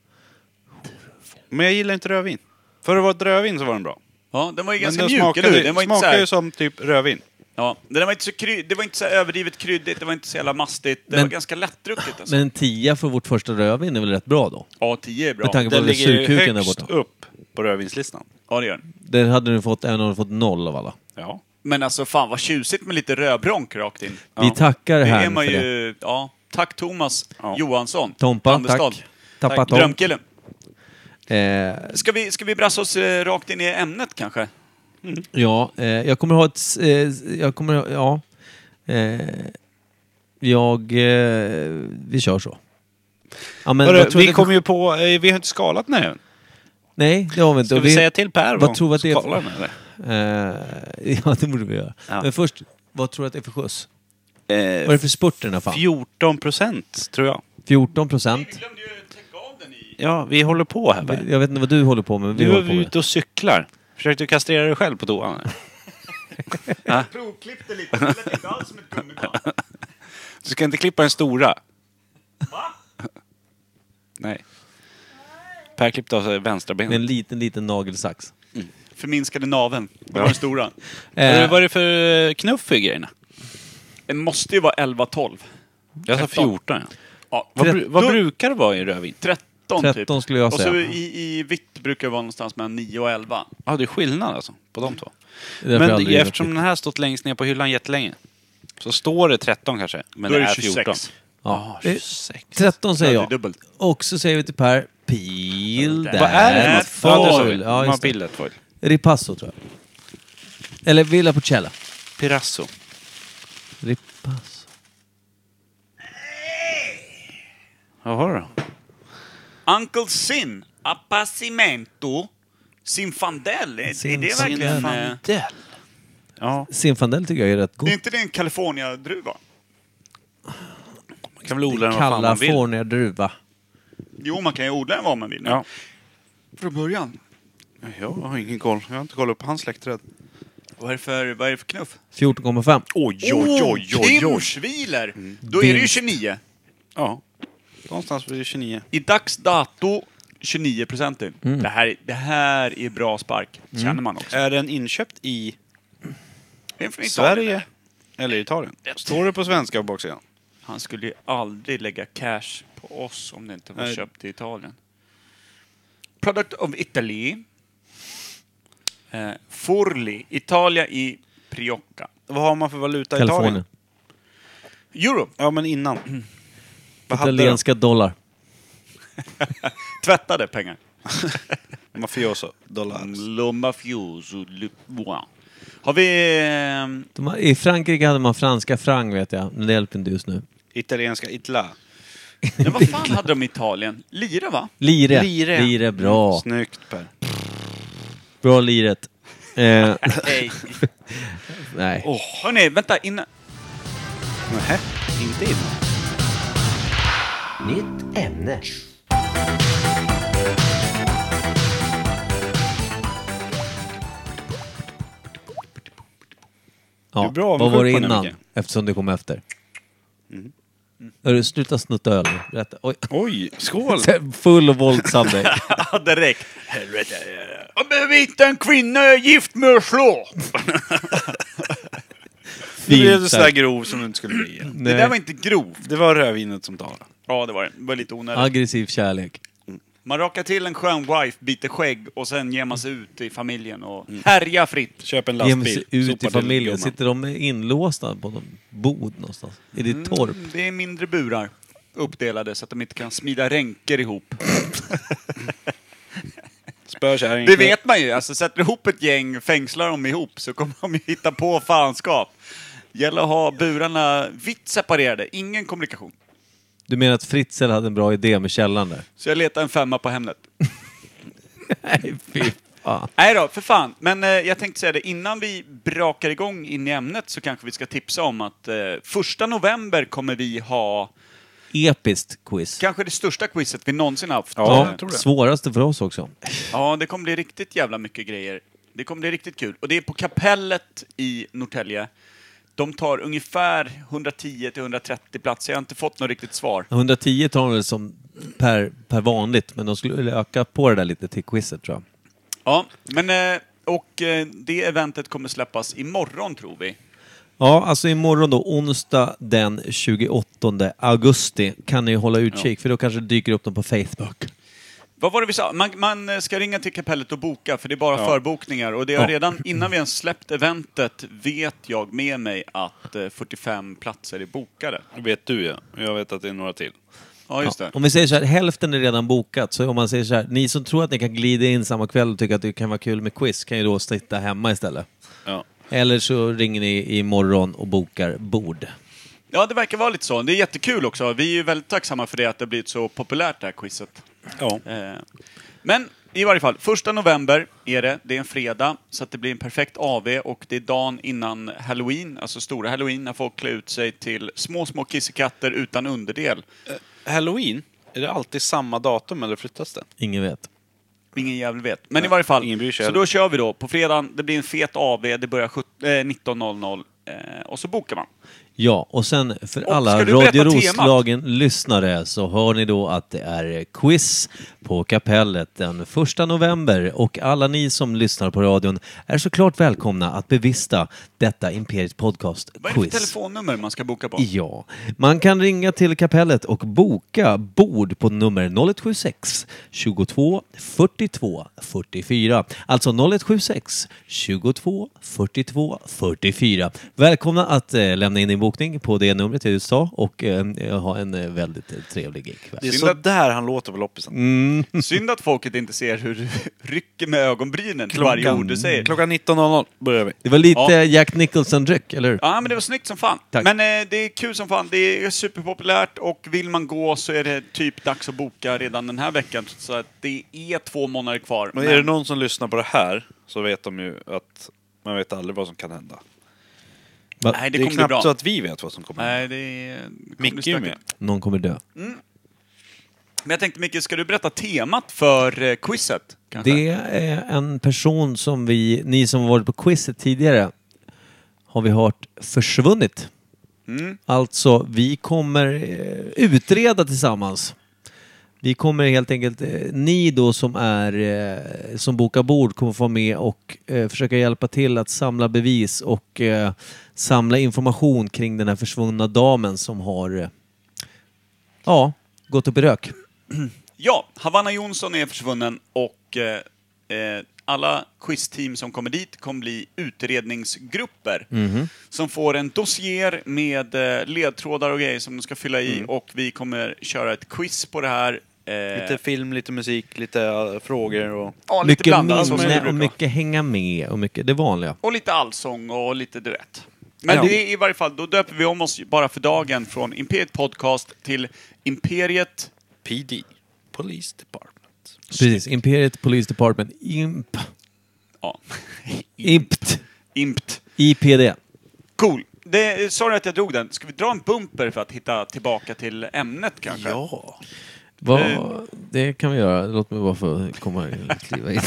Men jag gillar inte rödvin. För att vara ett rödvin så var den bra.
Ja, den var ju
Men
ganska
den
mjuk,
smakade,
eller hur? Den var inte så
smakade ju
här,
som typ rödvin.
ja, den var inte så kry, det var inte så här överdrivet kryddigt, det var inte så jävla mastigt. Det
Men-
var ganska lättdrucket alltså.
Men en tia för vårt första rödvin är väl rätt bra då?
Ja, 10 är
Med
bra.
tanke på
Den
den
ligger ju
surkuken där
högst
borta.
upp på rödvinslistan.
Ja, det gör den.
Den hade du fått, även om du fått noll av alla.
Ja.
Men alltså fan vad tjusigt med lite rödbronk rakt in.
Vi tackar
Det
här
är
för
man
det.
ju... Ja. Tack Thomas
Ja.
Johansson.
Tompa,
Andersstad.
tack. Tappa Tom.
Drömkillen.
Eh,
Ska vi, ska vi brassa oss eh, rakt in i ämnet kanske?
ja, eh, jag kommer ha ett... s- Eh, s- jag kommer ha, ja. Eh, jag... Eh, vi kör så. Ja, men
Hörru,
vad tror
vi
du-
kom ju på... eh, Vi har inte skalat den här än.
Nej, det har vi inte.
Ska
Och
vi, säga till Per
vad tror vi att det är för-
skalar den eller?
Eh, [laughs] ja, det borde vi göra.
Ja.
Men först, vad tror du att det är för skjuts? Vad är det för spurt i den här fan?
14 procent, tror jag.
14 procent.
glömde ju täcka av den i...
Ja, vi håller på här. Per.
Jag vet inte vad du håller på med, men vi
Du
håller på
är
med.
ute och cyklar. Försökte du kastrera dig själv på toan? eller?
Provklippte lite, det lät inte alls som ett gummiband.
Du ska inte klippa den stora. Va? Nej. Per klippte av sig vänstra
Med
benet.
en liten, liten nagelsax.
Förminskade naveln. Det var den stora.
Vad
Eh,
var det för knuff i grejerna?
Det måste ju vara 11-12.
Jag sa
13.
14. Ja.
Ja,
Vad,
Tre-
bru- vad
då-
brukar det vara i rödvin?
13,
13
typ.
skulle jag
Och så
säga.
i, i vitt brukar det vara någonstans mellan 9 och 11.
Ja, det är skillnad alltså på de två.
det är därför jag
Men
aldrig
eftersom
druckit.
den här stått längst ner på hyllan jättelänge så står det 13 kanske, men
Då är
det
det
är
26.
14.
Ja.
Ah, 26.
13
Ja,
säger
det är
jag.
dubbelt.
Och så säger vi till Per, peel that.
Vad är det för
Fat
något? Ja, det sa
foil.
vi.
Ja,
Man har
just det.
bildet foil.
Ripasso tror jag. Eller Villa Porcella.
Pirasso.
Ripasso.
Jaha då.
Uncle Sin, Appassimento, Sinfandel. Är, är det
Sinfandel.
verkligen... eh,
Ja,
Sinfandel tycker jag är rätt god.
Det är inte det en California-druva?
man kan väl odla den vad fan man vill.
California-druva.
Jo, man kan ju odla den var man vill.
Ja.
Från början.
Jag har ingen koll. Jag har inte kollat upp hans släktträd.
Vad är det för, vad är det för knuff?
14,5.
Oj, oj, oj, oj, oj.
Timschwiler! Mm. Då är det ju 29.
Ja. Någonstans vid 29.
I dags dato 29 procent.
Mm.
Det, här, det här är bra spark, känner man också.
Är den inköpt i
Det är från Italien.
Sverige eller Italien? Står det på svenska på baksidan?
Han skulle ju aldrig lägga cash på oss om det inte var
Nej.
köpt i Italien. Product of Italy. Eh, Forli, Italia i Priocca.
Vad har man för valuta i
Kalifornien.
Italien?
Euro.
Ja, men innan. Vad hade
Italienska dollar.
Tvättade pengar. Mm,
de? [laughs] Mafioso. Dollars.
Lo mafioso, le... Wow. Har vi... ehm,
De, har- I Frankrike hade man franska franc vet jag, men det hjälper inte just nu.
Italienska itla.
Men
[laughs]
vad fan hade de i Italien? Lira, va?
Lire.
Lire. Mm,
Lire, bra.
Snyggt Per.
Bra liret. Eh,
[laughs]
Nej. [laughs]
nej.
Oh. Hörni, vänta innan...
Nähä, inte innan.
Nytt ämne.
Ja.
Du är bra, men
Vad var det
skjut på den,
innan?
Micke. Mm.
Eftersom du kom efter. Hörru, sluta snutta öl nu. Rätt. Oj.
Oj, skål!
[laughs] Full och
[laughs]
våldsam dig.
Ja, direkt. Jag behöver hitta en kvinna jag är gift med och slå.
Du blev
Fint.
så där
sagt.
grov som du inte skulle bli.
Det där var
Nej.
inte grovt.
Det var rödvinet som talade.
Ja, det var det. Det var lite onödigt.
Aggressiv kärlek.
Man rakar till en skön wife, biter skägg och sen ger man sig ut i familjen och
Mm.
härjar fritt.
Köp en
Ge
lastbil.
mig sig ut
sopa
i
till
familjen.
gumman.
Sitter de inlåsta på någon bod någonstans? Är det
Mm.
ett torp?
Det är mindre burar uppdelade så att de inte kan smida ränker ihop.
Mm. Spör kärringen.
Det vet man ju. Alltså, sätter du ihop ett gäng, fängslar dem ihop så kommer de ju hitta på fanskap. Gäller att ha burarna vitt separerade, ingen kommunikation.
Du menar att Fritzl
[laughs]
hade en bra idé med källan där?
Så jag letar en femma på Hemnet.
Nej, fy fan.
Nej då, för fan. Men eh, jag tänkte säga det, innan vi brakar igång in i ämnet så kanske vi ska tipsa om att eh, första november kommer vi ha
Episkt quiz.
kanske det största quizet vi någonsin haft.
Ja,
Eh,
jag tror det.
svåraste för oss också.
Ja, det kommer bli riktigt jävla mycket grejer. Det kommer bli riktigt kul. Och det är på Kapellet i Norrtälje. De tar ungefär 110-130 platser. Jag har inte fått något riktigt svar.
110 tar de väl som per, per vanligt, men de skulle vilja öka på det där lite till quizet tror jag.
Ja, men... eh, Och eh, det eventet kommer släppas imorgon, tror vi.
Ja, alltså imorgon då, onsdag den 28 augusti, kan ni hålla utkik för då kanske det dyker upp dem på Facebook.
Vad var det vi sa? Man, man eh, ska ringa till kapellet och boka, för det är bara förbokningar. Och det har
Ja.
redan, innan vi ens släppt eventet, vet jag med mig att eh, 45 platser är bokade.
vet du ja. Jag vet att det är några till.
Ja, just
Ja,
det.
om vi säger så här, hälften är redan bokat, så om man säger så här, ni som tror att ni kan glida in samma kväll och tycker att det kan vara kul med quiz kan ju då sitta hemma istället.
Ja.
Eller så ringer ni imorgon och bokar bord.
Ja, det verkar vara lite så. Det är jättekul också. Vi är ju väldigt tacksamma för det, att det har blivit så populärt det här quizet.
Ja.
Eh, Men i varje fall, första november är det. Det är en fredag, så att det blir en perfekt AV och det är dagen innan halloween, alltså stora halloween, när folk klär ut sig till små, små kissekatter utan underdel.
Halloween, är det alltid samma datum eller flyttas det?
Ingen vet.
Ingen jävel vet. Men i varje fall,
ingen bryr sig
så
heller.
då kör vi då. På fredagen, det blir en fet AV, det börjar sjut- eh, 19.00 eh, och så bokar man.
Ja, och sen för
Och
alla
ska du berätta
Radio
temat?
Roslagen-lyssnare så hör ni då att det är quiz på kapellet den 1 november och alla ni som lyssnar på radion är såklart välkomna att bevista detta Imperiet
Vad är det för
Podcast-quiz.
telefonnummer man ska boka på?
Ja, man kan ringa till kapellet och boka bord på nummer 0176 22 42 44. Alltså 0176 22 42 44. Välkomna att eh, lämna in din bokning på det numret jag just sa och eh, ha en eh, väldigt eh, trevlig kväll.
Det är
Synd
så
att-
där han låter på loppisen.
[laughs] Synd att folket inte ser hur du [laughs] rycker med ögonbrynen till varje ord du säger.
Mm. Klockan 19.00 börjar vi.
Det var lite
Ja.
Jack Nicholson-dryck, eller hur?
Ja, men det var snyggt som fan.
Tack.
Men eh, det är kul som fan. Det är superpopulärt och vill man gå så är det typ dags att boka redan den här veckan. Så att det är två månader kvar.
Men är det någon som lyssnar på det här så vet de ju att man vet aldrig vad som kan hända.
Va?
Nej, det,
Det, är
kommer bli
knappt
bra.
så att vi vet vad som kommer hända.
Nej, det är... det kommer bli
Micke är ju
stökigt.
med.
Någon kommer dö.
Men jag tänkte Micke, ska du berätta temat för eh, quizet? Kanske?
Det är en person som vi, ni som varit på quizet tidigare, har vi hört försvunnit.
Mm.
Alltså, vi kommer eh, utreda tillsammans. Vi kommer helt enkelt, eh, ni då som är, eh, som bokar bord kommer få vara med och eh, försöka hjälpa till att samla bevis och eh, samla information kring den här försvunna damen som har, eh, ja, gått upp i rök.
Ja, Havanna Jonsson är försvunnen och eh, eh, alla quizteam som kommer dit kommer bli utredningsgrupper
Mhm.
som får en dossier med eh, ledtrådar och grejer som de ska fylla
Mm.
i och vi kommer köra ett quiz på det här. Eh,
Lite film, lite musik, lite äh, frågor och...
ja, lite
Mycket
blandat, så som det
minne
brukar
och
vara.
mycket hänga med och mycket det vanliga.
och lite allsång och lite duett. Men
Ja.
det är i varje fall, då döper vi om oss bara för dagen från Imperiet Podcast till Imperiet
PD. Police Department.
Precis, Imperiet Police Department, IMP,
ja, [laughs]
IMPT,
IMPT.
IPD.
Cool. Det, sorry att jag drog den. Ska vi dra en bumper för att hitta tillbaka till ämnet kanske?
Ja.
Vad, det kan vi göra, låt mig bara få komma kliva in.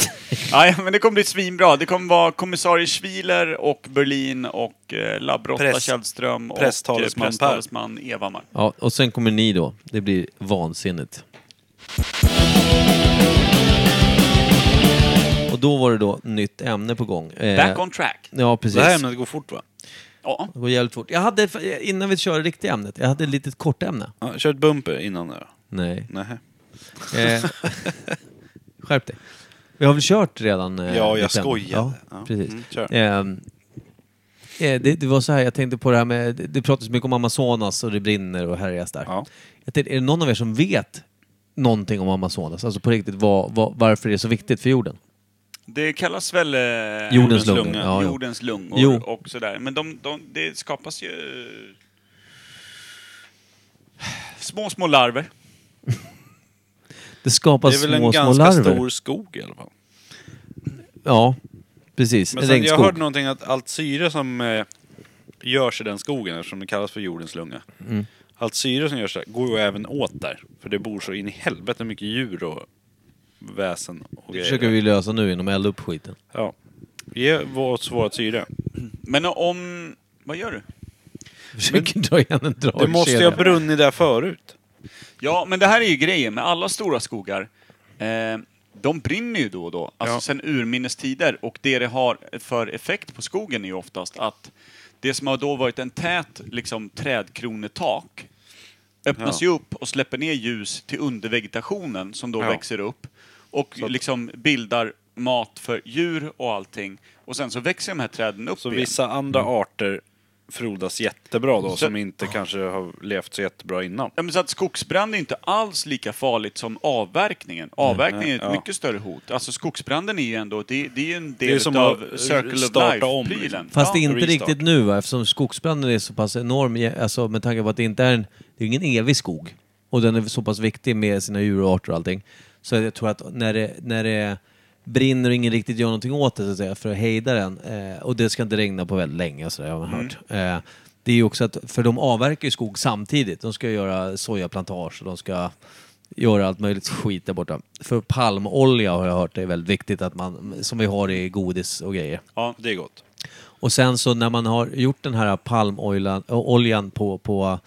Nej, men det kommer bli svinbra. Det kommer vara kommissarie Schwiler och Berlin och eh, Labbrotta
Press-
Källström och
presstalesman
eh,
Per.
presstalesman Evhammar.
[laughs] Ja, och sen kommer ni då, det blir vansinnigt. Och då var det då nytt ämne på gång. Eh,
Back on track.
Ja,
Det här
precis.
ämnet går fort va?
Ja.
Det går jävligt fort. Jag hade, innan vi kör riktigt ämnet, jag hade ett litet kort ämne.
Ja, kör ett bumper innan det då.
Nej.
Nej.
Eh, skärp dig. Vi har väl kört redan? eh,
Ja, jag
lite grann?
skojade.
Ja,
Ja.
precis.
Mm, kör.
Ehm, eh, det, det var så här, jag tänkte på det här med, det- det pratas mycket om Amazonas och det brinner och härjas där.
Ja.
Jag tänkte, är det någon av er som vet någonting om Amazonas? Alltså på riktigt, vad, vad, varför det är så viktigt för jorden?
Det kallas väl... Eh,
Jordens lungor. Ja, jo.
jordens lungor
Jo.
och sådär. Men de, de, det skapas ju... Små, små larver.
Det
Det
skapas
är väl en
små, små
ganska
larver.
stor skog i alla fall.
Ja, precis.
Men
En
sen, jag
regnskog.
hörde någonting att allt syre som eh, görs i den skogen, eftersom det kallas för jordens lunga.
Mm.
Allt syre som görs där går ju även åt där. För det bor så in i helvete mycket djur och väsen och
Det
grejer.
försöker vi lösa nu genom att elda upp skiten.
Ja. Ge oss vårt syre.
Men om... Vad gör du?
Försöker dra igen en dragkedja.
Det måste ju ha brunnit där förut.
Ja, men det här är ju grejen med alla stora skogar. Eh, de brinner ju då och då, alltså
Ja.
sen urminnes tider. Och det det har för effekt på skogen är ju oftast att det som har då varit en tät liksom, trädkronetak öppnas ju upp och släpper ner ljus till undervegetationen som då
Ja.
växer upp och liksom bildar mat för djur och allting. Och sen så växer de här träden upp
Så
igen.
vissa andra
Mm.
arter frodas jättebra då,
Så-
som inte kanske har levt så jättebra innan.
Ja, men så att skogsbrand är inte alls lika farligt som avverkningen. Avverkningen är ett
Ja.
mycket större hot. Alltså skogsbranden är ju ändå, det, det är ju en
är
del
som
av
att
Circle of
starta om,
Life-prylen.
liksom.
Fast
ja.
inte
restart.
riktigt nu va? eftersom skogsbranden är så pass enorm, ja, alltså, med tanke på att det inte är en, det är ingen evig skog. Och den är så pass viktig med sina djurarter och allting. Så jag tror att när det, när det brinner och ingen riktigt gör någonting åt det så att säga, för att hejda den, eh, och det ska inte regna på väldigt länge så där, har man hört. Eh, det är ju också att, för de avverkar ju skog samtidigt. De ska göra sojaplantage och de ska göra allt möjligt skit där borta. För palmolja har jag hört är väldigt viktigt att man, som vi har i godis och grejer.
Ja, det är gott.
Och sen så när man har gjort den här palmoljan ö, oljan på, på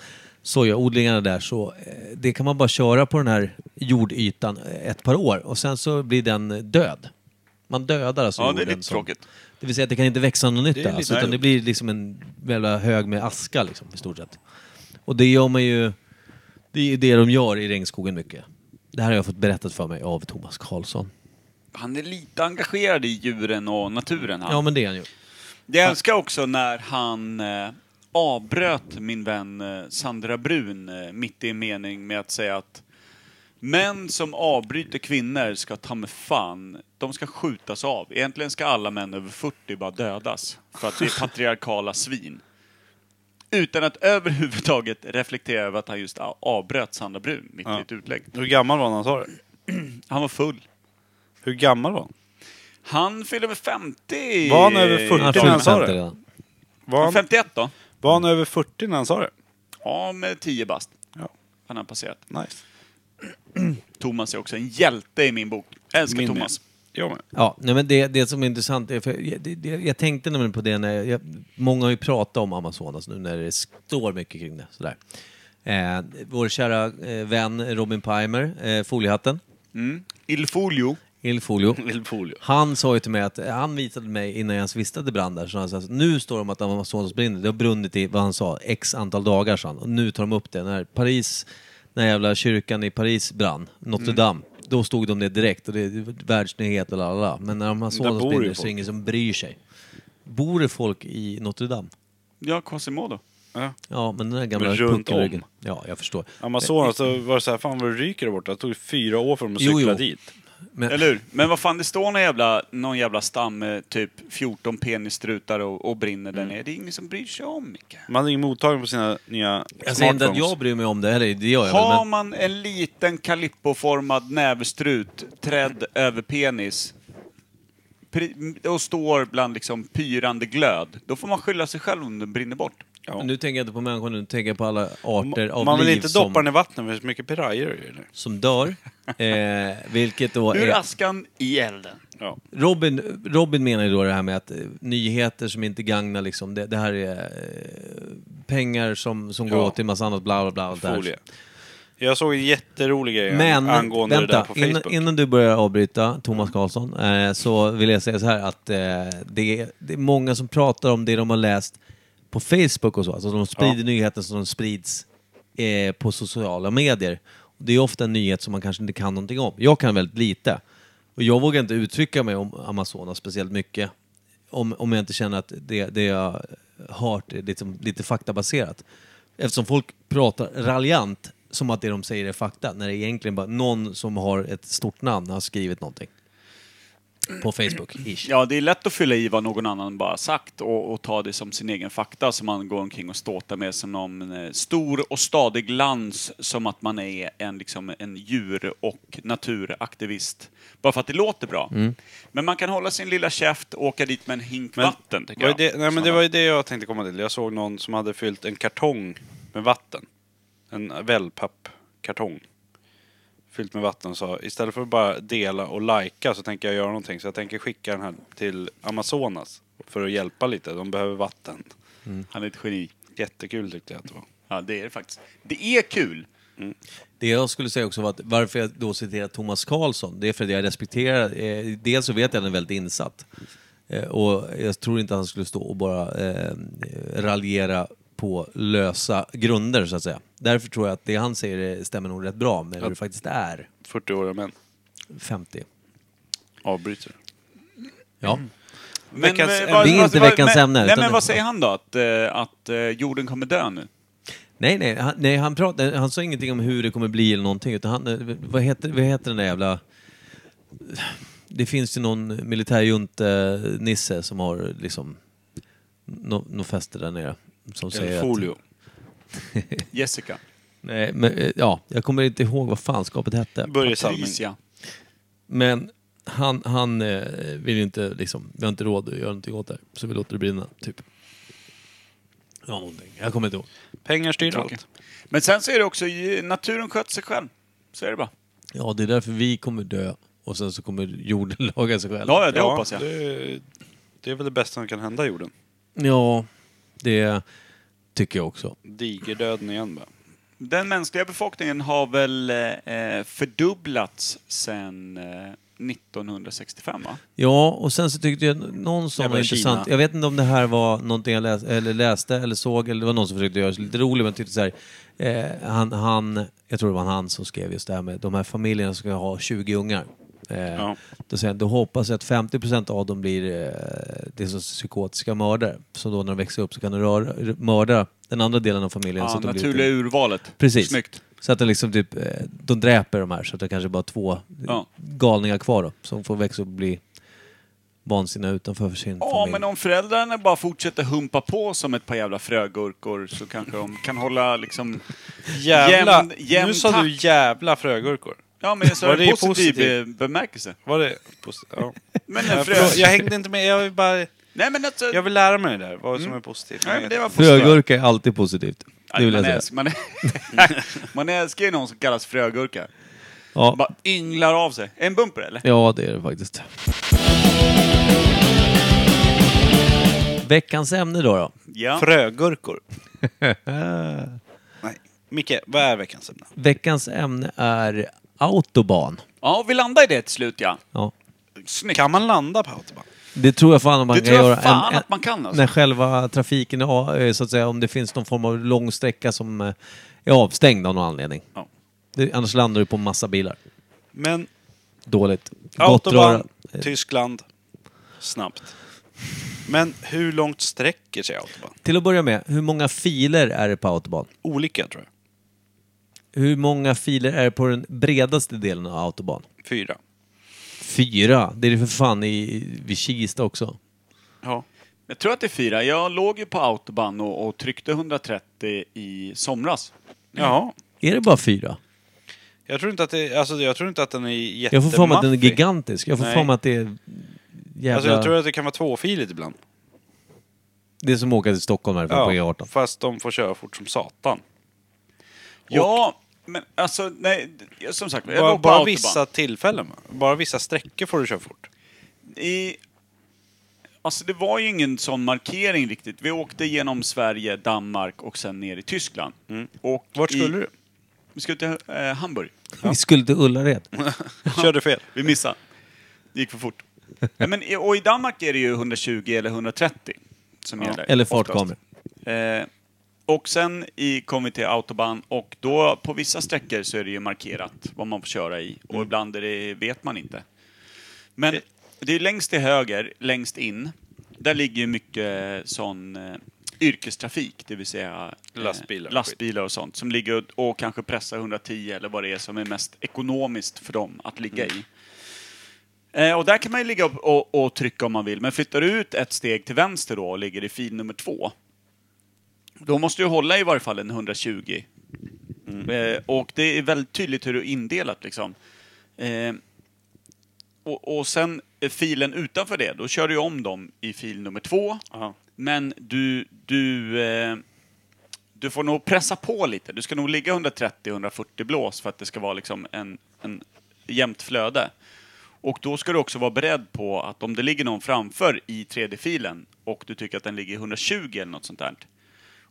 sojaodlingarna där så eh, det kan man bara köra på den här jordytan eh, ett par år och sen så blir den död. Man dödar alltså
Ja, det är
jorden
lite
som-
tråkigt.
Det vill säga att det kan inte växa något nytt
Det är
där, alltså,
lite
utan det
dumt.
blir liksom en jävla hög med aska liksom, i stort sett. Och det gör man ju, det är ju det de gör i regnskogen mycket. Det här har jag fått berättat för mig av Thomas Karlsson.
Han är lite engagerad i djuren och naturen. Han.
Ja men det är han ju.
Jag älskar också när han eh, avbröt min vän eh, Sandra Brun eh, mitt i en mening med att säga att män som avbryter kvinnor ska ta med fan, de ska skjutas av. Egentligen ska alla män över 40 bara dödas för att vi
[laughs]
är patriarkala svin. Utan att överhuvudtaget reflektera över att han just a- avbröt Sandra Brun mitt i
Ja.
ett utlägg.
Hur gammal var han, han sa det?
Han var full.
Hur gammal var han?
Han fyllde väl 50?
Var han över 40
Han
när
har
han
fyllt
sa
50
det?
redan.
Var han,
51 då?
var han över 40 när han sa det?
Ja, med 10 bast.
Ja,
Han har passerat.
nice.
Thomas är också en hjälte i min bok. Jag älskar
Min
Thomas.
med. Jag med.
Ja, nej, men det, det som är intressant är, för jag, det, det, jag tänkte nämligen på det när jag, jag, många har ju pratat om Amazonas nu när det står mycket kring det. Sådär. Eh, vår kära eh, vän Robin Palmer, eh, foliehatten,
Il Folio.
Il Folio.
Vill polio.
Han sa ju till mig att, eh, han visade mig innan jag ens visste att det brann där, så han sa att nu står de att Amazonas brinner, det har brunnit i, vad han sa, x antal dagar sa han. Och nu tar de upp det. När Paris, när jävla kyrkan i Paris brann,
Mm.
Notre Dame, då stod de det direkt och det är världsnyhet och lalala. Men när
Där
Amazonas
bor ju
brinner så är det
folk.
ingen som bryr sig. Bor det folk i Notre Dame?
Ja, Quasimodo.
Ja.
Ja, men den där gamla
Men runt
puckelryggen. Ja, jag förstår.
Amazonas, så var det så här, fan vad det ryker där borta. Det tog fyra år för dem att
Jo,
cykla
jo.
dit.
Men,
Eller hur? Men vad fan, det står någon jävla, någon jävla stam med typ 14 penisstrutar och, och brinner där nere. Det är ingen som bryr sig om, Micke.
Man hade ingen mottagning på sina nya
jag säger inte att
smartphones.
jag bryr mig om det, eller det gör jag väl,
Har
men...
man en liten kalippoformad nävstrut, trädd över penis pri- och står bland liksom pyrande glöd, då får man skylla sig själv om den brinner bort.
Ja.
Nu tänker jag inte på människor, nu tänker jag på alla arter
Man,
av
man vill
liv
inte
som...
doppa den i vattnet för det är så mycket pirajer i det.
som dör. Eh, vilket då
Ur
är...
askan i elden.
Ja.
Robin, Robin menar ju då det här med att eh, nyheter som inte gagnar liksom, det, det här är eh, pengar som, som går
Ja.
åt till massa annat bla bla bla. allt det här.
Folie. Jag såg en jätterolig grej
Men
angående det där
vänta,
på
innan,
Facebook.
innan du börjar avbryta Thomas Karlsson eh, så vill jag säga så här att eh, det, är, det är många som pratar om det de har läst på Facebook och så. Alltså de sprider
Ja.
nyheten som de sprids eh, på sociala medier. Och Det är ofta en nyhet som man kanske inte kan någonting om. Jag kan väldigt lite. Och jag vågar inte uttrycka mig om Amazonas speciellt mycket om, om jag inte känner att det, det jag hört är liksom lite faktabaserat. Eftersom folk pratar raljant som att det de säger är fakta, när det egentligen bara någon som har ett stort namn har skrivit någonting. På Facebook, ish.
Ja, det är lätt att fylla i vad någon annan bara sagt och, och ta det som sin egen fakta som man går omkring och ståtar med som någon eh, stor och stadig lans som att man är en, liksom, en djur och naturaktivist. Bara för att det låter bra.
Mm.
Men man kan hålla sin lilla käft och åka dit med en hink vatten, tycker
var ju
jag.
det, nej, men det var ju det jag tänkte komma till. Jag såg någon som hade fyllt en kartong med vatten. En wellpappkartong. Fyllt med vatten och sa istället för att bara dela och lajka så tänker jag göra någonting. Så jag tänker skicka den här till Amazonas. För att hjälpa lite. De behöver vatten.
Han är ett geni.
Jättekul tyckte jag att det var.
Ja, det är det faktiskt. Det är kul!
Det jag skulle säga också var att varför jag då citerar Thomas Karlsson, det är för att jag respekterar, eh, dels så vet jag att han är väldigt insatt. Eh, och jag tror inte han skulle stå och bara eh, raljera på lösa grunder så att säga. Därför tror jag att det han säger eh, stämmer nog rätt bra med hur det faktiskt är,
40-åriga män.
50.
Avbryter.
Ja.
Men,
Veckans-
eh,
det
är inte veckans
men,
ämne,
Nej,
utan
men
det-
vad säger han då? Att, eh, att eh, jorden kommer dö nu?
Nej, nej, han, nej han, pratade, han sa ingenting om hur det kommer bli eller någonting, utan han, eh, vad, heter, vad heter den där jävla... Det finns ju någon militärjunt-nisse som har liksom nå nå fäste där nere. Som säger
Eller
att- [laughs]
folio.
Jessica?
nej, men, eh, ja, jag kommer inte ihåg vad fanskapet hette.
Börje Salming.
Patricia?
Men han, han eh, vill ju inte liksom, vi har inte råd att göra någonting åt det här, så vi låter det brinna, typ. Ja, någonting. Jag kommer inte ihåg.
Pengar styr
Tråkigt.
allt.
Men sen så är det också, ju- naturen sköter sig själv. Så är det bara.
Ja, det är därför vi kommer dö och sen så kommer jorden [laughs] laga sig själv.
Ja, ja, det hoppas jag.
Det, det är väl det bästa som kan hända jorden.
Ja, det tycker jag också.
Digerdöden igen bara.
Den mänskliga befolkningen har väl eh, fördubblats sen eh, 1965, va?
Ja, och sen så tyckte jag någon som
Jag
var
var i
intressant.
Kina.
Jag vet inte om det här var någonting jag läs eller läste eller såg eller det var någon som försökte göra sig lite rolig men jag tyckte så här. Eh, han, han, jag tror det var han som skrev just det här med de här familjerna som ska ha 20 ungar. Eh,
Ja.
då, säger han, då hoppas jag att 50% av dem blir eh, det är så psykotiska mördare. Så då när de växer upp så kan de röra, mörda den andra delen av familjen. så
Ja,
att de blir
naturliga urvalet.
Precis.
Snyggt.
Så att de liksom typ, eh, de dräper de här så att det kanske bara är två
Ja.
galningar kvar då, som får växa upp och bli vansinniga utanför sin
Ja,
familj.
men om föräldrarna bara fortsätter humpa på som ett par jävla frögurkor så kanske de kan hålla liksom...
Jävla!
Jämn- jämn
nu sa du
takt.
jävla frögurkor.
Ja, men jag sa
Var
det
det
i positiv
positiv?
eh, bemärkelse.
Var det positivt? Ja.
Men en
Jag,
frö...
förlåt, jag hängde inte med. Jag vill, bara,
Nej, men alltså...
jag vill lära mig det där. Vad som är positivt.
Mm. Nej, men det var positivt.
Frögurka är alltid positivt. Det vill
man,
jag säga.
älskar, man, man [laughs] älskar ju någon som kallas frögurka.
Ja.
Bara ynglar av sig. En bumper eller?
ja, det är det faktiskt. Veckans ämne då? då.
Ja.
[laughs] Frögurkor. Ah. Nej. Micke, vad är veckans ämne?
Veckans ämne är autoban.
ja, vi landade i det till slut ja.
Ja.
Snyggt.
Kan man landa på autobahn?
Det tror jag fan om man
Det
kan
tror jag
göra.
fan att man kan, alltså.
När själva trafiken är, av- eh, så att säga, om det finns någon form av lång sträcka som eh, är avstängd av någon anledning.
Ja.
Det, annars landar du på massa bilar.
Men
Dåligt. Gott Eh, röra.
autobahn, Tyskland, snabbt. Men hur långt sträcker sig autobahn?
Till att börja med, hur många filer är det på autobahn?
Olika tror jag.
Hur många filer är det på den bredaste delen av autobahn?
Fyra.
Fyra. Det är det för fan i, vid Kista också.
Ja.
Jag tror att det är fyra. Jag låg ju på autobahn och, och tryckte 130 i somras.
Jaha.
Är det bara fyra?
Jag tror inte att, det, alltså, jag tror inte att den är jättemaffig.
Jag får för mig att den är gigantisk. Jag får
Nej.
för mig att det är jävla...
Alltså, jag tror att det kan vara tvåfiligt ibland.
Det är som att åka till Stockholm härifrån på E E18.
fast de får köra fort som satan.
Ja, men alltså nej. d- Som sagt, jag
bara
låg på
bara
autobahn.
vissa tillfällen. va? Bara vissa sträckor får du köra fort.
I, alltså det var ju ingen sån markering riktigt. Vi åkte genom Sverige, Danmark och sen ner i Tyskland. Och
Vart
i,
skulle [laughs] du?
Vi skulle till eh, Hamburg.
Vi skulle till
[laughs]
Ullared.
Körde fel.
Vi missade. Det gick för [laughs] fort. Nej, men, i- och i Danmark är det ju 120 eller 130 som gäller.
Eller
oftast.
fartkameror.
Eh, och sen i, kom vi till autobahn och då på vissa sträckor så är det ju markerat vad man får köra i
Mm.
och ibland är det, vet man inte. Men det är längst till höger, längst in, där ligger ju mycket sån eh, yrkestrafik, det vill säga eh,
Lastbilar och
lastbilar och sånt, som ligger och, och kanske
Mm.
pressar 110 eller vad det är som är mest ekonomiskt för dem att ligga i. Eh, och där kan man ju ligga upp och, och trycka om man vill. Men flyttar du ut ett steg till vänster då och ligger i fil nummer två. Då måste du hålla i varje fall en 120. Eh, och det är väldigt tydligt hur du är indelat liksom. Eh, och, och sen eh, filen utanför det, då kör du ju om dem i fil nummer två.
Aha.
Men du, du, eh, du får nog pressa på lite. Du ska nog ligga 130-140 blås för att det ska vara liksom en, en jämnt flöde. Och då ska du också vara beredd på att om det ligger någon framför i 3D-filen och du tycker att den ligger i 120 eller något sånt där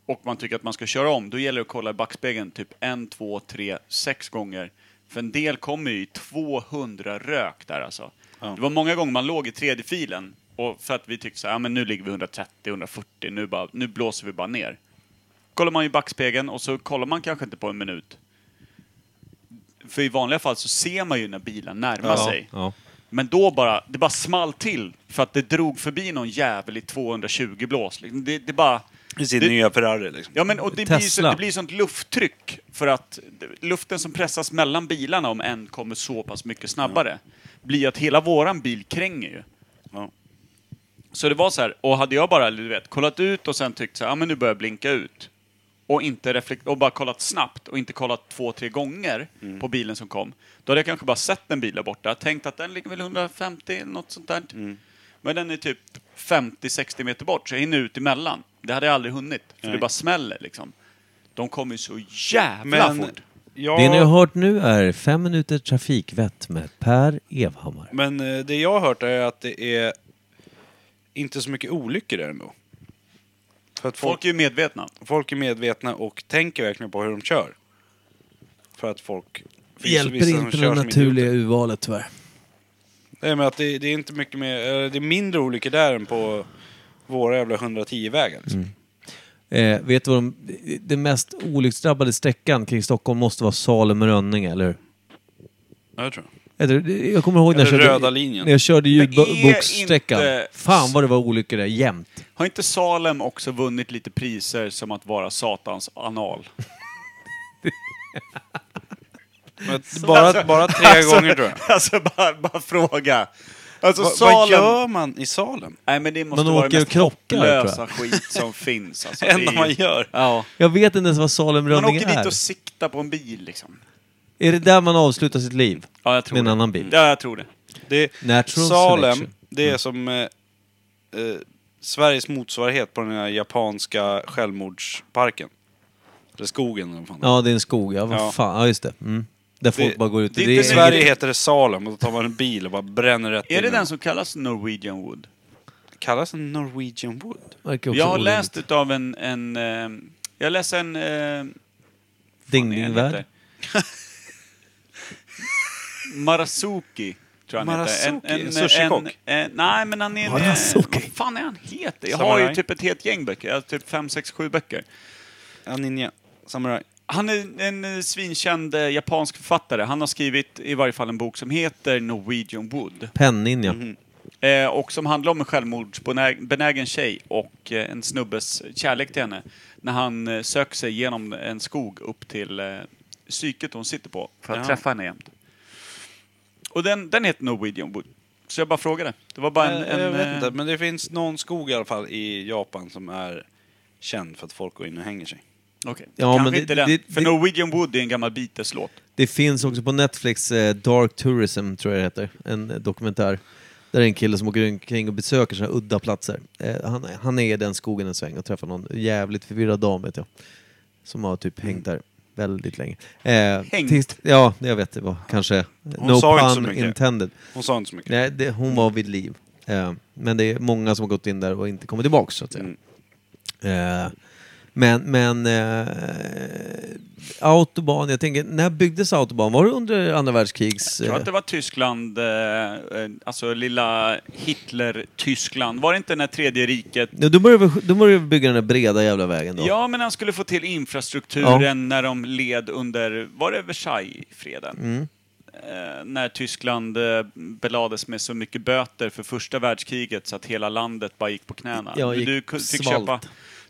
och man tycker att man ska köra om, då gäller det att kolla i backspegeln typ en, två, tre, sex gånger. För en del kommer ju i 200 rök där alltså.
Ja.
Det var många gånger man låg i 3D-filen och för att vi tyckte så här, ja men nu ligger vi 130, 140, nu, bara, nu blåser vi bara ner. Kollar man i backspegeln och så kollar man kanske inte på en minut. För i vanliga fall så ser man ju när bilen närmar sig.
Ja.
Men då bara, det bara small till för att det drog förbi någon jävel i 220 blås. Liksom, Det, det bara...
I sin
det-
nya Ferrari liksom.
Ja, men och det, blir så,
Tesla.
det blir sånt lufttryck för att d- luften som pressas mellan bilarna om en kommer så pass mycket snabbare blir att hela våran bil kränger ju.
Ja.
Så det var så här, och hade jag bara du vet, kollat ut och sen tyckt så här, ja men nu börjar jag blinka ut. Och, inte reflekt- och bara kollat snabbt och inte kollat två, tre gånger
Mm.
på bilen som kom. Då hade jag kanske bara sett en bil där borta, tänkt att den ligger väl 150 eller något sånt där.
Mm.
Men den är typ 50-60 meter bort, så jag hinner ut emellan. Det hade jag aldrig hunnit, för det
Nej.
bara smäller liksom. De kommer ju så jävla
Men,
fort.
ja,
Det ni har hört nu är fem minuter trafikvett med Per Evhammar.
men eh, det jag har hört är att det är inte så mycket olyckor där ändå. För att folk,
Folk är ju medvetna.
folk är medvetna och tänker verkligen på hur de kör. För att folk... finns vissa
Hjälper
som
inte
kör
det
som
naturliga urvalet tyvärr.
Nej men att det, det är inte mycket mer, eh, det är mindre olyckor där än på våra jävla 110-vägar. Liksom.
Mm. Eh, vet du vad de, den mest olycksdrabbade sträckan kring Stockholm måste vara Salem-Rönninge, eller hur?
Ja, jag tror
Eller, Jag kommer ihåg när jag
Eller
körde,
röda linjen.
När jag körde
Men är
ljudbokssträckan.
inte-
Fan vad det var olyckor där jämt.
Har inte Salem också vunnit lite priser som att vara Satans anal?
Men att bara, bara [laughs] tre gånger tror jag.
Alltså bara, bara fråga. Alltså
Va,
Salem...
vad gör man i Salem?
Nej men det måste
Man
vara
åker
det
och
mest
krockar, tror jag.
hopplösa skit som finns. Alltså,
Det enda
är-
man gör.
Ja.
Jag vet inte ens vad
Man
Salem-Rönninge
åker
är.
dit och siktar på en bil liksom.
Är det där man avslutar sitt liv?
Ja, jag tror
Med en
det.
annan bil?
Ja, jag tror det.
Det,
Natural
Salem,
selection. Mm.
det är som eh, eh, Sveriges motsvarighet på den här japanska självmordsparken. Eller skogen eller vad fan.
Ja, det är en skog. Ja, vad
Ja.
fan. Ja, just det. Mm. Där folk
Det-
bara går ut.
det är
I
inte
är-
Sverige heter det Salem och då tar man en bil och bara bränner rätt
Är
in
det
i
den som kallas Norwegian Wood?
Kallas den Norwegian Wood?
verkar också
Jag har
orimligt.
läst utav en... en eh, jag läste en... Eh,
Ding
vad
Ding
heter
Värld.
Marasuki, tror jag han
Marasuki?
heter.
En sushikock?
en, eh, Nej, men han är... en, eh,
Marasuki?
Vad fan är han heter? Jag har
Samurai?
ju typ ett helt gäng böcker. Jag har typ fem, sex, sju böcker.
Ja, ninja. Samurai.
Han är en eh, svinkänd eh, japansk författare. Han har skrivit i varje fall en bok som heter Norwegian Wood.
Pennin, ja.
Mhm.
Eh, och som handlar om en självmordsbenägen tjej och eh, en snubbes kärlek till henne. När han eh, söker sig genom en skog upp till eh, psyket hon sitter på för att
Ja.
träffa henne jämt. Och den, den heter Norwegian Wood. Så jag bara frågade. Det var bara en...
Eh, jag
en
vet
eh,
inte, men det finns någon skog i alla fall i Japan som är känd för att folk går in och hänger sig.
eh, okej.
Ja,
Kanske
men det-
inte den.
det-
för
det-
Norwegian Wood är en gammal Beatles-låt.
Det finns också på Netflix eh, Dark Tourism, tror jag det heter. En eh, dokumentär. Där är en kille som åker omkring och besöker sådana udda platser. Eh, han, han är i den skogen en sväng och träffar någon jävligt förvirrad dam, vet jag. Som har typ hängt där väldigt länge. Eh,
Hängt?
tills- ja, jag vet. Det var kanske... no
sa inte så
pun
mycket.
intended.
Hon sa inte så mycket.
Nej, det, hon var vid liv. Eh, men det är många som har gått in där och inte kommit tillbaka, så att säga.
Mm.
Eh, men, men... Eh, autobahn, jag tänker, när byggdes autobahn? Var det under andra världskrigs...
Jag tror
eh,
att det var Tyskland, eh, eh, alltså lilla Hitler-Tyskland. Var det inte när Tredje riket
Ja, då började, vi, då började vi bygga den där breda jävla vägen då.
Ja, men han skulle få till infrastrukturen
Ja.
när de led under, var det Versaillesfreden?
Mm.
Eh, när Tyskland eh, belades med så mycket böter för första världskriget så att hela landet bara gick på knäna.
Ja,
Du-
gick-
du ku- fick
svalt.
köpa,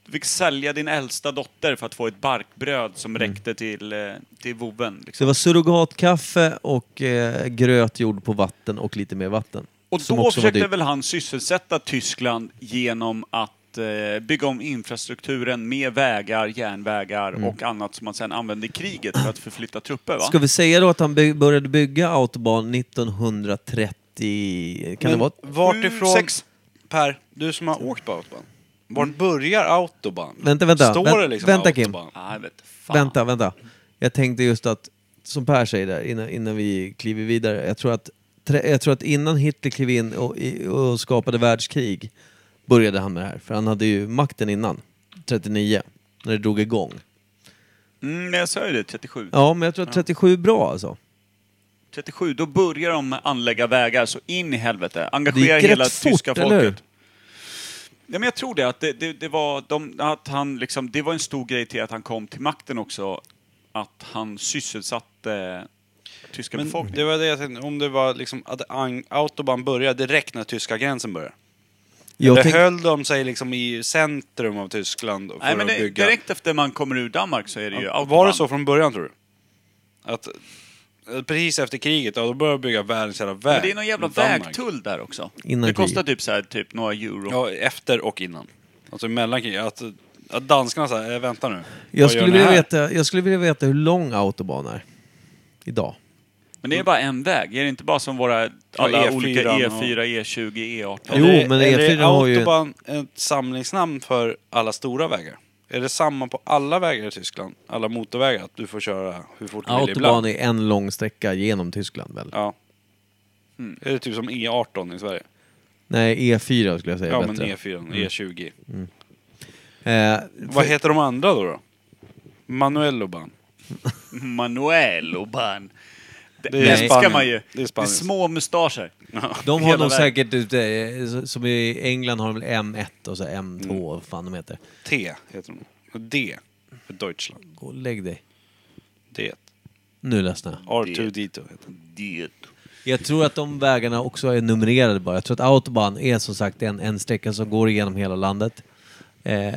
du fick sälja din äldsta dotter för att få ett barkbröd som
Mm.
räckte till, eh, till vovven.
Så
Liksom.
det var surrogatkaffe och eh, gröt gjord på vatten och lite mer vatten.
Och
Som
då
också var
försökte
dyrt.
väl han sysselsätta Tyskland genom att eh, bygga om infrastrukturen med vägar, järnvägar och annat som man sen använde i kriget för att förflytta trupper. Va?
Mm. Ska vi säga då att han by- började bygga Autobahn 1930? Kan det
Men
vara?
Vartifrån...
Sju, sex.
Per, du som har åkt på Autobahn. Vart börjar Autobahn?
Vänta, vänta.
Står
Vänt-
det liksom
vänta, Kim.
Autobahn?
Ah, jag vet, fan.
Vänta, vänta. Jag tänkte just att, som Per säger där, innan, innan vi kliver vidare. Jag tror, att, tre- jag tror att innan Hitler klev in och, i- och skapade världskrig började han med det här. För han hade ju makten innan, 39, när det drog igång.
Mm, men jag sa ju det, 37.
Ja, men jag tror att 37 är bra alltså.
37, då börjar de anlägga vägar så in i helvete.
Det gick
Engagera hela
rätt fort,
tyska
eller hur?
folket. Ja, men jag tror det, att det, det, det var de, att han liksom, det var en stor grej till att han kom till makten också. Att han sysselsatte tyska
Men
befolkningen.
det var det jag tänkte, om det var liksom att ang- Autobahn började direkt när tyska gränsen började.
Jag
Eller
tänk,
höll de sig liksom i centrum av Tyskland för
Nej, men
att
det,
bygga?
direkt efter man kommer ur Danmark så är det ju
Var
autobahn.
det så från början tror du? Att eh, precis efter kriget, ja, då började de bygga världens jävla väg.
Men det är någon jävla
mot Danmark.
vägtull där också.
Innan
det kostar typ, så här, typ några euro.
Ja, efter och innan. Alltså mellan kriget. Att, att danskarna säger, vänta nu.
jag,
vad gör
skulle
ni
vilja
här?"
veta, jag skulle vilja veta hur lång Autobahn är. Idag.
Men det är bara en väg. Är det inte bara som våra alla
E4
olika
E
E
och-
E4, E20, E18?
Jo,
Eller-
men
eller
E4 har ju-
Är Autobahn ett samlingsnamn för alla stora vägar? Är det samma på alla vägar i Tyskland? Alla motorvägar? Att du får köra hur fort du vill
Autobahn
ibland?
är en lång sträcka genom Tyskland väl?
Ja. Är det typ som E18 i Sverige?
Nej, E4 skulle jag säga
Ja,
är
men E
bättre. Mm.
E4, E20.
Eh,
Vad heter de andra då? då? Manueloban.
[laughs] Manuel och ban. Det,
Det är
det
Spanien.
älskar man ju.
Det är
Det är,
Spanien.
små mustascher. [laughs]
De har
Hela
nog
vägen.
säkert, eh, som i England har de väl M1 och så
Mm.
M2, vad fan de heter.
T heter de. Och D för Deutschland.
Gå och lägg dig.
Det.
Nu ledsnar jag.
R2D2 heter den.
Det.
Jag tror att de vägarna också är numrerade bara. Jag tror att Autobahn är som sagt en, en sträcka som går igenom hela landet. Eh,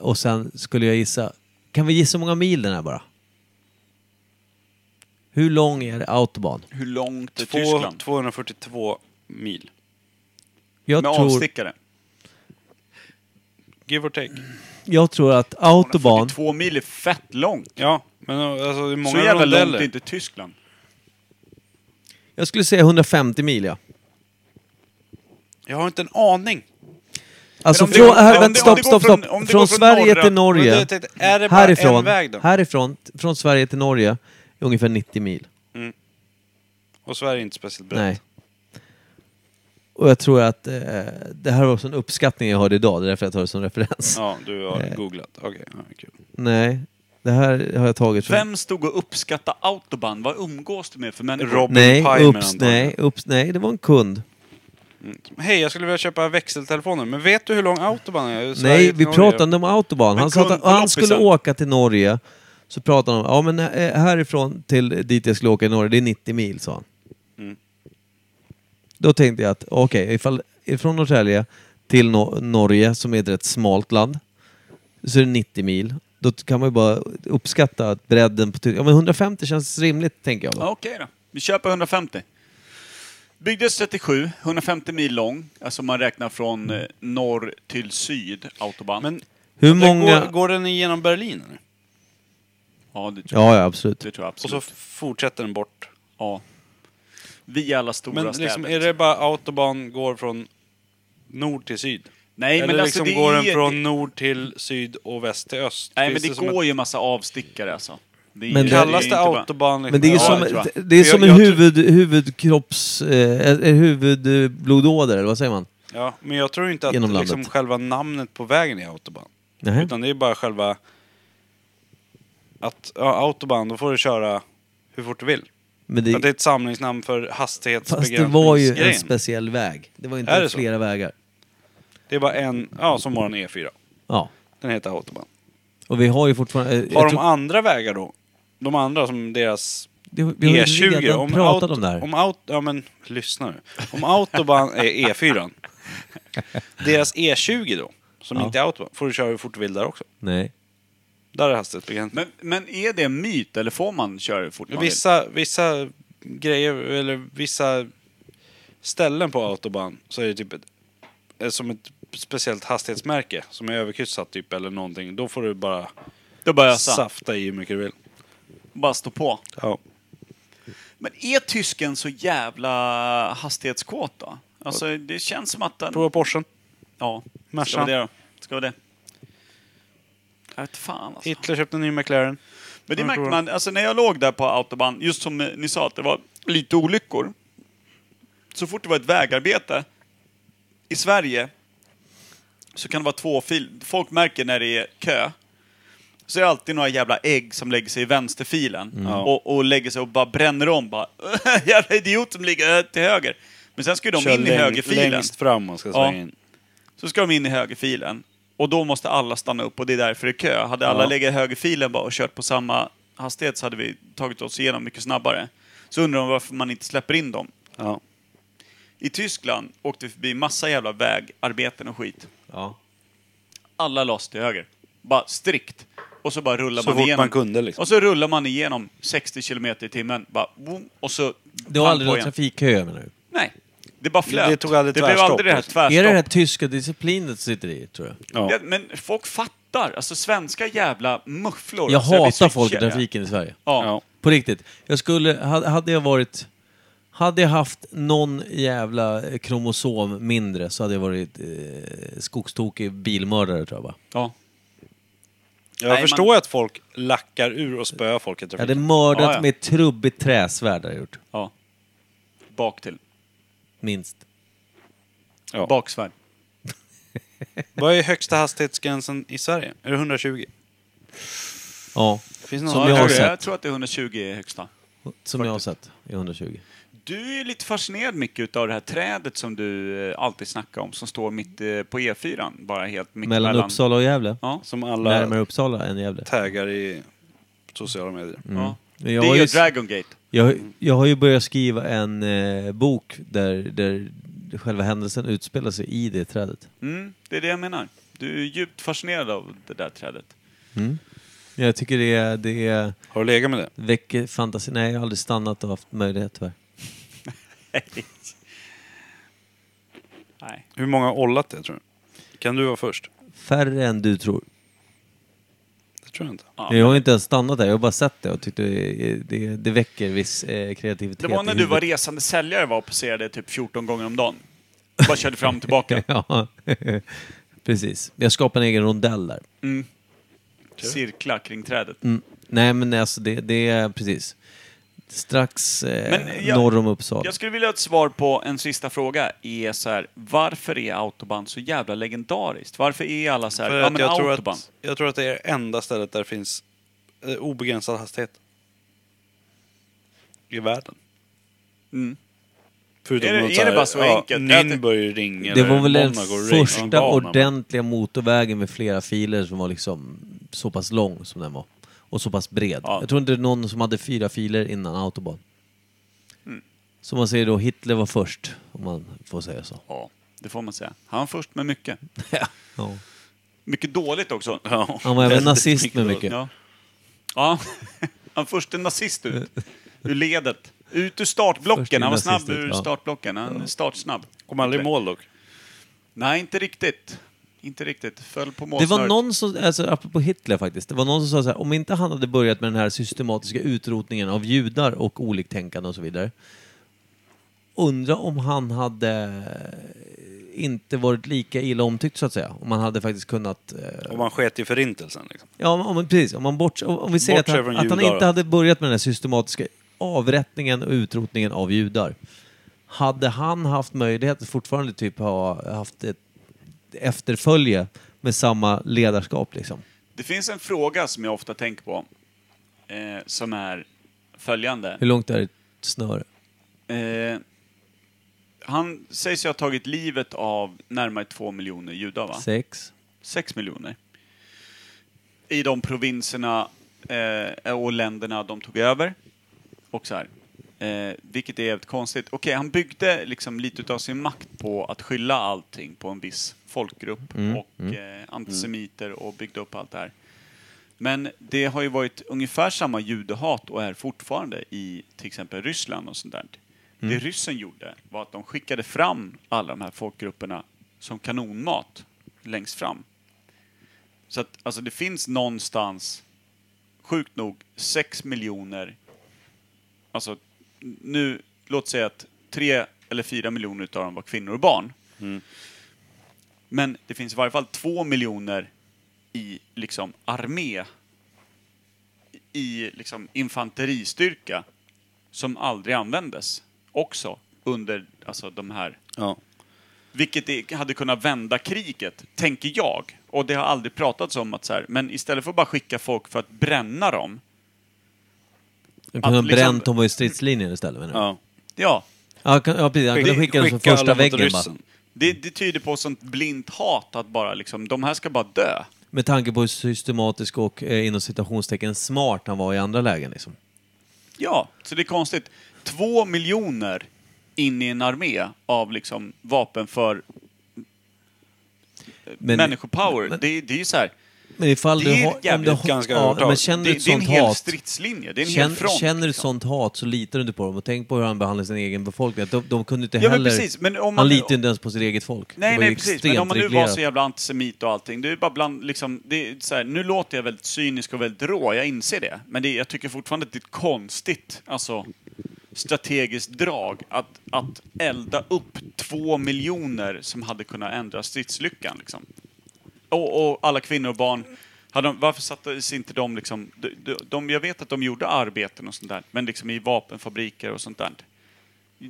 och sen skulle jag gissa, kan vi gissa hur många mil den är bara? Hur lång är det Autobahn?
Hur långt är
Två-
Tyskland?
242 mil.
Jag
Med
tror,
avstickare.
Give or take.
jag tror att Autobahn...
Två mil är fett långt.
Ja, men alltså, det är många
Så jävla långt
rondeller.
är inte Tyskland.
Jag skulle säga 150 mil ja.
Jag har inte en aning.
Men
Alltså
om det
från,
går-
här,
om
vänta,
det- om
stopp,
det
stopp,
går
stopp.
från- om
Från,
det går från
Sverige
norra-
till
Men
Norge.
det- det- är det bara
härifrån,
en väg då?
härifrån, t- från Sverige till Norge, är ungefär 90 mil.
Och Sverige är inte speciellt brett.
Nej. Och jag tror att eh, det här var också en uppskattning jag hörde idag, det är därför jag tar det som referens.
Ja, du har
Eh.
googlat. Okej, ja, kul.
Nej, det här har jag tagit från...
Vem stod och uppskattade Autobahn? Vad umgås du med för människor?
Rob-
Nej,
Pimer
ups,
antagligen.
nej, ups, nej, det var en kund.
Hej, jag skulle vilja köpa växeltelefoner, men vet du hur lång autobahn är? Sverige
nej,
till
vi
Norge?
pratade inte om autobahn.
Men
Han sa
kund
att
på
han skulle
loppisen.
åka till Norge, så pratade han om, ja men eh, härifrån till dit jag skulle åka i Norge, det är 90 mil, sa han.
Mm.
Då tänkte jag att, okej, ifall ifrån Norrtälje till no- Norge, som är ett rätt smalt land, så är det 90 mil. Då kan man ju bara uppskatta att bredden på... Ty- Ja men 150 känns rimligt, tänker jag. Då.
Ja, Okej då. Vi köper 150. Byggdes 37, 150 mil lång. Alltså man räknar från eh, norr till syd, Autobahn.
Men
Hur
det
många...
går, går den igenom Berlin? eller?
ja, det tror jag,
Ja, ja, absolut.
det tror jag
Och
absolut.
så fortsätter den bort.
Ja. Via alla stora
Men liksom,
städer.
är det bara autobahn går från nord till syd?
Nej,
Eller
men alltså,
liksom
det
går
är...
den från nord till syd och väst till öst?
Nej, men
Finns
det
som
går ju massa avstickare alltså. Det är-
Men
Ett...
det-
Kallas
är
det
inte bara-
autobahn? Liksom?
Men det är ju
Ja,
som,
det tror
det, är som
Jag-
en
jag
huvud, huvudkropps... Eh, eh, huvudblodåder, eller vad säger man?
Ja, men jag tror inte att
Genom
liksom,
landet.
själva namnet på vägen är autobahn.
Nähä.
Utan det är bara själva... Att, ja, autobahn, då får du köra hur fort du vill.
Men
Att det är
det,
ett samlingsnamn för
fast det var ju en
hastighetsbegränsningsgrejen. Det,
speciell väg. Det var
Är
ju inte
det så?
flera vägar.
det är bara en, ja som våran E4.
Ja.
Den heter autobahn.
Och vi har ju fortfarande... eh, jag
Har de
tror-
andra vägar då? De andra som deras
det, vi har ju
E20?
redan pratat om det här.
E Om aut, ja men E
[laughs]
lyssna nu. Om autobahn är E4. Deras E20 E då? som
Ja.
inte är autobahn, får du köra hur fort du vill där också.
Nej.
Där är hastighetsbegränsning.
Men, men är det en myt eller får man köra hur fort man vill?
Vissa, vissa grejer, eller vissa ställen på autobahn så är det typ ett, är som ett speciellt hastighetsmärke som är överkryssat typ eller någonting. Då får du bara
Då bara ösa.
safta i hur mycket du vill.
Bara stå på.
Ja.
Men är tysken så jävla hastighetskåt då? Alltså det känns som att... Den...
Prova Porschen,
Ja, ska
Mercan.
vi det då? Ska vi det? Jag vet fan alltså.
Hitler köpte en ny McLaren.
Men det
Ja,
märkte
prova.
man, alltså när jag låg där på autobahn, just som eh, ni sa att det var lite olyckor. Så fort det var ett vägarbete i Sverige så kan det vara två fil. Folk märker när det är kö. Så är det alltid några jävla ägg som lägger sig i vänsterfilen
Mm.
och, och lägger sig och bara bränner om. Bara, [laughs] jävla idiot som ligger eh, till höger. Men sen ska ju de in i
läng-
högerfilen.
Längst fram och ska svänga in.
Så ska de in i högerfilen. Och då måste alla stanna upp och det är därför det är kö. Hade alla
Ja.
legat i högerfilen bara och kört på samma hastighet så hade vi tagit oss igenom mycket snabbare. Så undrar de varför man inte släpper in dem.
Ja.
I Tyskland åkte vi förbi massa jävla vägarbeten och skit.
Ja.
Alla lades till höger. Bara strikt. Och så bara rullar
Så
man
fort
igenom.
man kunde, liksom.
Och så rullar man igenom 60 kilometer i timmen. Bara, boom, och så...
Det var
pang
aldrig
på
någon
igen.
trafikkö menar du?
Nej. Det bara flöt.
Det tog aldrig
det blev
tvärstopp,
aldrig det här
liksom.
tvärstopp.
Är det det här tyska disciplinet sitter i, tror jag?
Ja.
Ja, men folk fattar. Alltså svenska jävla mufflor.
Jag
alltså, blir
hatar
så
folk i
jävla-
trafiken i Sverige.
Ja.
Ja.
På riktigt. Jag skulle, ha- hade jag varit... Hade jag haft någon jävla eh, kromosom mindre så hade jag varit eh, skogstokig bilmördare tror jag va?
Ja. Nej,
Jag
man-
förstår att folk lackar ur och spöar folk i
Jag hade
trafiken.
mördat
Ja, ja.
med ett trubbigt träsvärd hade jag gjort.
ja. Bak till.
Minst.
Ja.
Baksvärd.
Vad är högsta hastighetsgränsen i Sverige? Är det 120?
Ja.
Finns det någon
Som
som
jag har
jag,
högre?
tror, jag
sett.
tror att det är 120 är högsta.
Som jag har sett i 120.
Du är ju lite fascinerad mycket av det här trädet som du eh, alltid snackar om, som står mitt eh, på E4. Bara helt mitt
Mellan Uppsala Mm. och Gävle.
Ja.
Som alla
Närmare Uppsala än Gävle.
taggar i sociala medier.
ja.
Men
Det
jag
är
har
ju
ju-
Dragon Gate.
Jag, jag har ju börjat skriva en eh, bok där, där själva händelsen utspelar sig i det trädet.
Mm, det är det jag menar. Du är djupt fascinerad av det där trädet. [laughs]
Jag tycker det, är- det är-
Har du legat med det?
väcker fantasi. Nej, jag har aldrig stannat och haft möjlighet tyvärr.
Nej.
Hur många har ollat det tror du? Kan du vara först?
Färre än du tror.
Det tror jag inte.
Ja.
Jag har inte ens stannat där, jag har bara sett det och tyckte det, det, det väcker viss eh, kreativitet.
Det var när
i
du var
huvudet.
resande säljare var och passerade typ 14 gånger om dagen. Bara körde fram och
[laughs]
tillbaka.
Ja, precis. Jag skapade en egen rondell där.
Cirklar kring trädet.
Mm. Nej, men alltså det, det är precis. Strax eh,
Men jag-
norr om Uppsala.
Jag skulle vilja ha ett svar på en sista fråga. Är så här, varför är autobahn så jävla legendariskt? Varför är alla så här,
För
ja
att
men
jag, tror
autobahn?
att, jag tror att det är det enda stället där det finns eh, obegränsad hastighet. I världen.
Mm.
Förutom
Är det-
något
är
så här,
det bara så enkelt?
Nürnbergring
Det
eller
var väl den
Monaco Ring.
första ordentliga motorvägen med flera filer som var liksom så pass lång som den var. Och så pass bred.
Ja.
Jag tror inte det är någon som hade fyra filer innan Autobahn. Som man säger då, Hitler var först, om man får säga så.
Ja, det får man säga. Han var först med mycket.
[laughs] Ja.
Mycket dåligt också.
Ja.
[laughs]
Han var även nazist med mycket.
Ja. ja. [laughs] Han först en nazist ut. Ur ledet. Ut ur
Först en
startblocken. Han var
nazist
snabb
ut,
ur
ja.
startblocken. Han är startsnabb.
Kom aldrig i mål dock.
Nej, inte riktigt. Inte riktigt. Föll på
Det
målsnöret.
var någon som, alltså apropå Hitler faktiskt, det var någon som sa så här, om inte han hade börjat med den här systematiska utrotningen av judar och oliktänkande och så vidare. Undra om han hade eh, inte varit lika illa omtyckt så att säga. Om man hade faktiskt kunnat... eh,
Om man sket i förintelsen. Liksom.
Ja, om, om, precis. Om, man bort, om, om vi säger att
Bortser
han,
från
att han
judar,
inte
då.
hade börjat med den här systematiska avrättningen och utrotningen av judar. Hade han haft möjlighet att fortfarande typ ha haft ett efterfölje med samma ledarskap liksom?
Det finns en fråga som jag ofta tänker på. Eh, som är följande.
Hur långt är ett snöre?
Eh, han sägs ju ha tagit livet av närmare två miljoner judar, va?
Sex?
Sex miljoner. I de provinserna eh, och länderna de tog över. Och så här. Eh, vilket är jävligt konstigt. Okej, han byggde liksom lite av sin makt på att skylla allting på en viss folkgrupp och Eh, antisemiter och byggde upp allt det här. Men det har ju varit ungefär samma judehat och är fortfarande i till exempel Ryssland och sånt där. Det ryssen gjorde var att de skickade fram alla de här folkgrupperna som kanonmat längst fram. Så att alltså det finns någonstans, sjukt nog, 6 miljoner alltså, nu, låt säga att tre eller fyra miljoner utav dem var kvinnor och barn. Men det finns i varje fall två miljoner i liksom armé, i liksom infanteristyrka, som aldrig användes också under alltså, de här
Ja.
vilket det hade kunnat vända kriget, tänker jag. Och det har aldrig pratats om att så här, men istället för att bara skicka folk för att bränna dem,
Han kunde ha
Att liksom-
bränt dem i stridslinjen istället menar du?
Ja.
ja,
Ja, kan- ja, precis. Han kunde skicka dem som första
alla mot
väggen bara.
ryssen.
Det, det tyder på sånt blint hat att bara liksom, de här ska bara dö.
Med tanke på hur systematisk och eh, inom citationstecken smart han var i andra lägen liksom.
Ja, så det är konstigt. Två miljoner in i en armé av liksom vapen för
Men,
människopower.
men-
det, det är ju så här,
Men ifall
Det är
du har... Om
jävligt
du har
ganska
ja,
övertag.
men känner du
det,
ett
det är en
sånt
hel
hat?
stridslinje, det är en
Känn-
hel front.
känner du
liksom.
sånt hat så litar du inte på dem. Och tänk på hur han behandlar sin egen befolkning. Att De, de kunde inte
Ja, men
heller...
precis, men om
han
man-
litar ju inte ens på sitt eget folk. Det
Nej,
var ju
nej precis. Men
extremt
om man nu var
reglerat.
så jävla antisemit och allting. Det är ju bara bland, liksom, det är så här, nu låter jag väldigt cynisk och väldigt rå, jag inser det. Men det, är- jag tycker fortfarande att det är ett konstigt alltså, strategiskt drag att, att elda upp två miljoner som hade kunnat ändra stridslyckan. Liksom. Och, och alla kvinnor och barn. Hade de, varför sattes inte de liksom... De, de, de, jag vet att de gjorde arbeten och sånt där, men liksom i vapenfabriker och sånt där.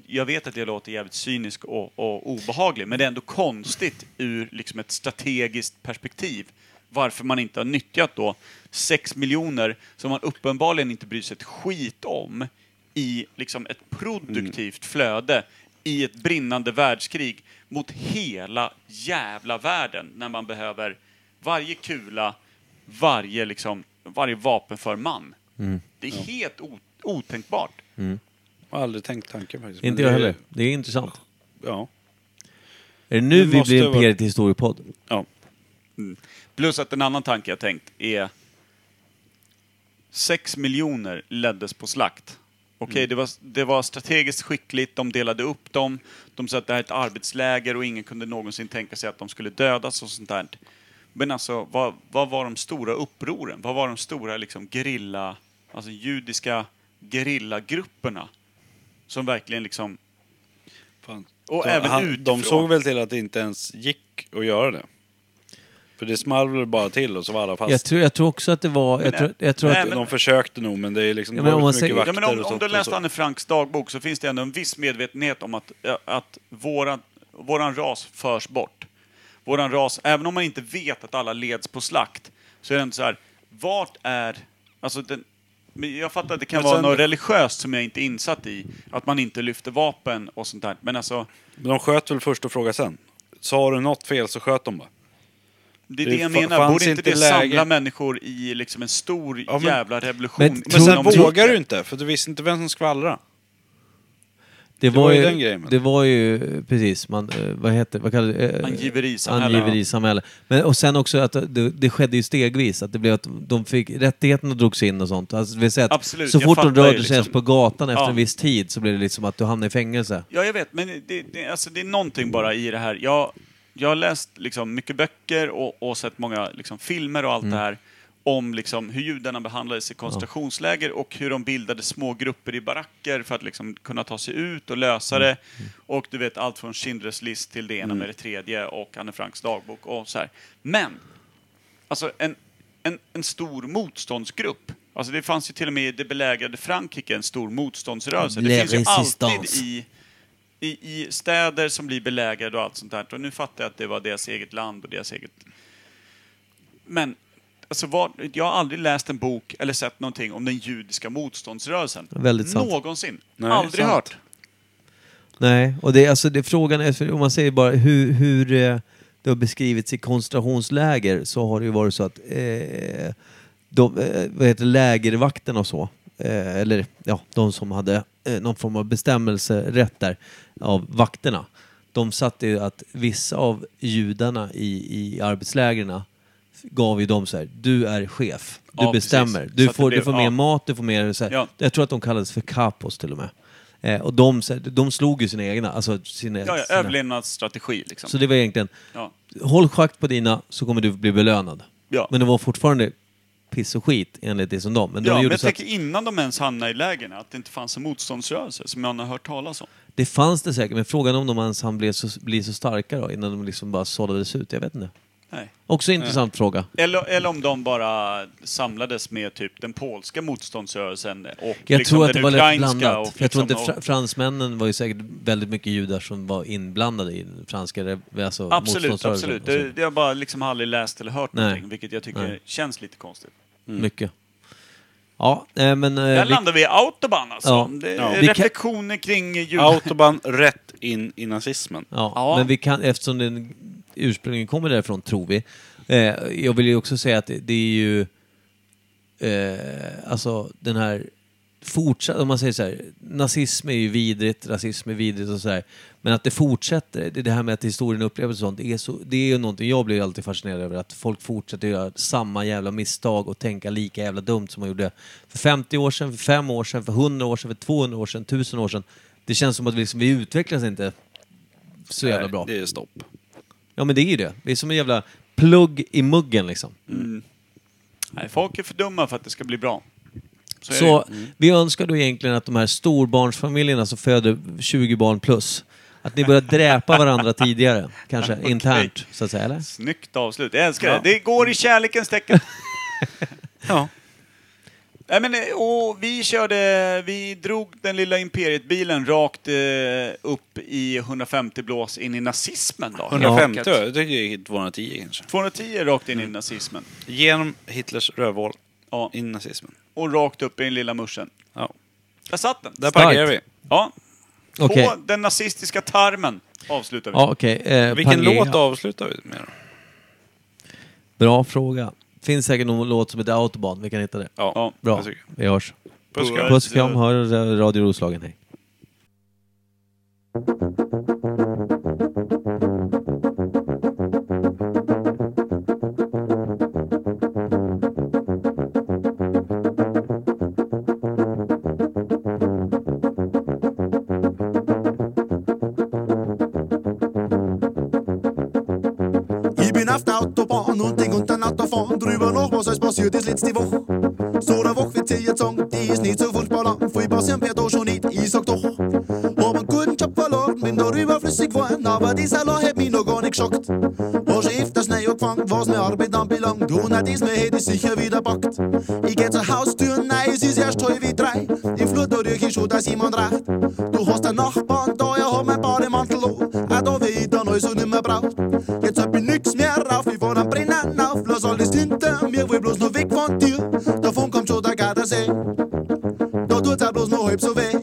Jag vet att jag låter jävligt cynisk och, och obehaglig, men det är ändå konstigt ur liksom ett strategiskt perspektiv varför man inte har nyttjat då 6 miljoner som man uppenbarligen inte bryr sig ett skit om i liksom ett produktivt flöde i ett brinnande världskrig mot hela jävla världen när man behöver varje kula, varje, liksom, varje vapen för man. Det är helt o- otänkbart.
Jag har aldrig tänkt tanken faktiskt.
Inte
Men
jag
det-
heller. Det är intressant.
Ja.
Är det nu
Det
vi
måste
blir
vara-
Imperiet historiepodd?
ja.
Mm. Plus att en annan tanke jag tänkt är... 6 miljoner leddes på slakt. Okej, det, var, det var strategiskt skickligt, de delade upp dem, de sa att det här är ett arbetsläger och ingen kunde någonsin tänka sig att de skulle dödas och sånt där. Men alltså, vad, vad var de stora upproren? Vad var de stora liksom gerilla, alltså judiska gerillagrupperna? Som verkligen liksom...
Fan.
Och
de,
även
de
utifrån.
såg väl till att det inte ens gick att göra det. För det small väl bara till och så var alla fast.
Jag tror, jag tror också att det var... Jag
nej.
tror, jag tror
Nej,
att,
men-
De försökte nog men det är liksom
Ja,
ja,
men om
men
man
mycket
säger-
vakter
Ja, men om,
och
om
sånt.
du
och
läste
så.
Anne Franks dagbok så finns det ändå en viss medvetenhet om att, eh, att våran, våran ras förs bort. Våran ras, även om man inte vet att alla leds på slakt, så är det inte så här, vart är... Alltså den, men jag fattar att det kan
Men
vara
sen-
något religiöst som jag inte är insatt i, att man inte lyfter vapen och sånt där, men alltså...
Men de sköt väl först och frågade sen. Sa du något fel så sköt de bara.
Det är det,
Det
jag
fa-
menar,
fanns
borde inte
inte
det
läge-
samla människor i liksom en stor
Ja, men-
jävla revolution?
Men
Men
Tror-
sen
tror-
vågar du inte för du visste inte vem som skvallrade.
det, var
var ju
ju,
den grejen.
Det var ju... Precis. Man, eh, vad heter vad kallar, det? Eh,
Angiverisamhälle.
Angiverisamhälle. Men, och sen också att det, det skedde ju stegvis. Att det blev att de fick... Rättigheterna drogs in och sånt. Alltså, det vill säga att
Absolut,
så
jag
fort de
fattar
rörde
ju
sig ens
liksom-
på gatan efter
Ja.
en viss tid så blev det liksom att du hamnade i fängelse.
Ja, jag vet, men det, det, alltså, det är någonting bara i det här. Jag, jag har läst liksom, mycket böcker och, och sett många liksom, filmer och allt det här om liksom, hur judarna behandlades i koncentrationsläger och hur de bildade små grupper i baracker för att liksom, kunna ta sig ut och lösa det. Och du vet, allt från Schindler's list till det ena med det tredje och Anne Franks dagbok och så här. Men alltså en, en, en stor motståndsgrupp. Alltså det fanns ju till och med i det belägrade Frankrike en stor motståndsrörelse.
La
Det finns ju
résistance.
alltid i, i, i städer som blir belägrade och allt sånt där. Och nu fattar jag att det var deras eget land och deras eget... Men alltså vad, jag har aldrig läst en bok eller sett någonting om den judiska motståndsrörelsen.
Väldigt sant.
Någonsin.
Nej,
aldrig
sant.
hört.
Nej, och det, är alltså, det, frågan är, för om man säger bara hur, hur eh, det har beskrivits i koncentrationsläger så har det ju varit så att eh, de, eh, vad heter det, lägervakterna och så, eh, eller ja, de som hade eh, någon form av bestämmelserätt där av vakterna. De satte ju att vissa av judarna i, i arbetslägren gav ju dem så här, du är chef, du
Ja,
bestämmer,
precis. Så
du
att
får,
det
du
blev-
får mer
ja.
mat, du får mer så här.
Ja.
Jag tror att de kallades för kapos till och med. Eh, och de, så här, de slog ju sina egna, alltså sina...
Ja, ja,
sina-
överlevnadsstrategi liksom.
Så det var egentligen,
Ja.
håll schakt på dina så kommer du bli belönad.
Ja.
Men det var fortfarande piss och skit enligt det som de. Men de
Ja, men
gjorde
jag
så att
tänker innan de ens hamnade i lägren, att det inte fanns en motståndsrörelse som jag har hört talas om.
det fanns det säkert, men frågan om de ens han blev så, blir så starka då innan de liksom bara sållades ut, jag vet inte.
Nej.
Också en intressant fråga.
Eller, eller om de bara samlades med typ den polska motståndsrörelsen och
Jag
liksom
tror att det
den
var rätt
ukrainska.
blandat.
Och
jag tror inte
liksom-
fr- fransmännen var ju säkert väldigt mycket judar som var inblandade i den franska re- alltså
Absolut,
motståndsrörelsen
absolut.
och så.
Det, det har bara liksom aldrig läst eller hört
Nej.
någonting, vilket jag tycker
Nej.
känns lite konstigt.
Mycket. Ja, eh, men... eh,
Där
vi-
Mm. landar vi i Autobahn alltså.
Ja.
Det är
Ja.
Vi kan-
reflektioner kring jul...
Autobahn rätt in i nazismen.
Ja,
Ja.
men vi kan, eftersom den ursprungligen kommer därifrån, tror vi. Eh, jag vill ju också säga att det, det är ju... Eh, alltså den här... Fortsatt, om man säger så här, nazism är ju vidrigt, rasism är vidrigt och sådär. Men att det fortsätter, det det här med att historien upplever sånt, det är, så, det är ju någonting jag blir alltid fascinerad över. Att folk fortsätter göra samma jävla misstag och tänka lika jävla dumt som man gjorde för 50 år sedan, för 5 år sedan, för 100 år sedan, för 200 år sedan, 1000 år sedan. Det känns som att vi, liksom, vi utvecklas inte så jävla bra.
Det är stopp.
Ja men det är ju det. Det är som en jävla plugg i muggen liksom.
Nej, folk är för dumma för att det ska bli bra. Så, är
Så
Mm.
vi önskar då egentligen att de här storbarnsfamiljerna som föder 20 barn plus, att ni börjar
[laughs]
dräpa varandra tidigare. Kanske internt, så att säga. Eller?
det. Snyggt avslut. Jag älskar det. Det går i kärlekens
[laughs]
tecken.
Ja.
Nej, men, eh, och vi körde, vi drog den lilla Imperiet-bilen rakt eh, upp i 150 blås in i nazismen då.
150
Ja.
jag tycker det gick 210 kanske.
210 rakt in i nazismen.
Genom Hitlers rövhål.
Ja.
In i nazismen.
Och rakt upp i den lilla muschen.
Ja.
Där satt den.
Där
Starkt.
parkerar vi.
Ja.
Okej.
På den nazistiska tarmen avslutar vi.
Ja, okej. Eh,
Vilken
Pangea.
låt avslutar vi med då?
Bra fråga. Finns säkert någon låt som heter Autobahn. Vi kan hitta det.
Ja,
Bra.
jag tycker.
Vi hörs.
Puss
Puss.
Puss och kram. Hör eh, Radio Roslagen. Hej.
Ich bin auf der Autobahn und denk unter Auto fahren drüber nach, was alles passiert ist letzte Woche. So eine Woche wird sie jetzt sagen, die ist nicht so furchtbar lang, viel passieren wird da schon nicht, ich sag doch. Hab einen guten Job verloren, bin darüber flüssig geworden, aber dieser Law hat mich noch gar nicht geschockt. Hab schon öfters neu angefangen, was mir Arbeit anbelangt, und auch diesmal hätte ich sicher wieder packt. Ich geh zur Haustür, nein, es ist erst halb drei, im Flur da riech ich schon, dass jemand reicht. Du hast einen Nachbarn da, er hat mein Bademantel an, auch da weh ich dann alles und nimmer braucht. Jetzt hab ich nix mehr rauf, ich fahr am Brennen auf, lass alles hinter mir, will bloß noch weg von dir. Davon kommt schon der Gardasee, da tut's auch bloß noch halb so weh.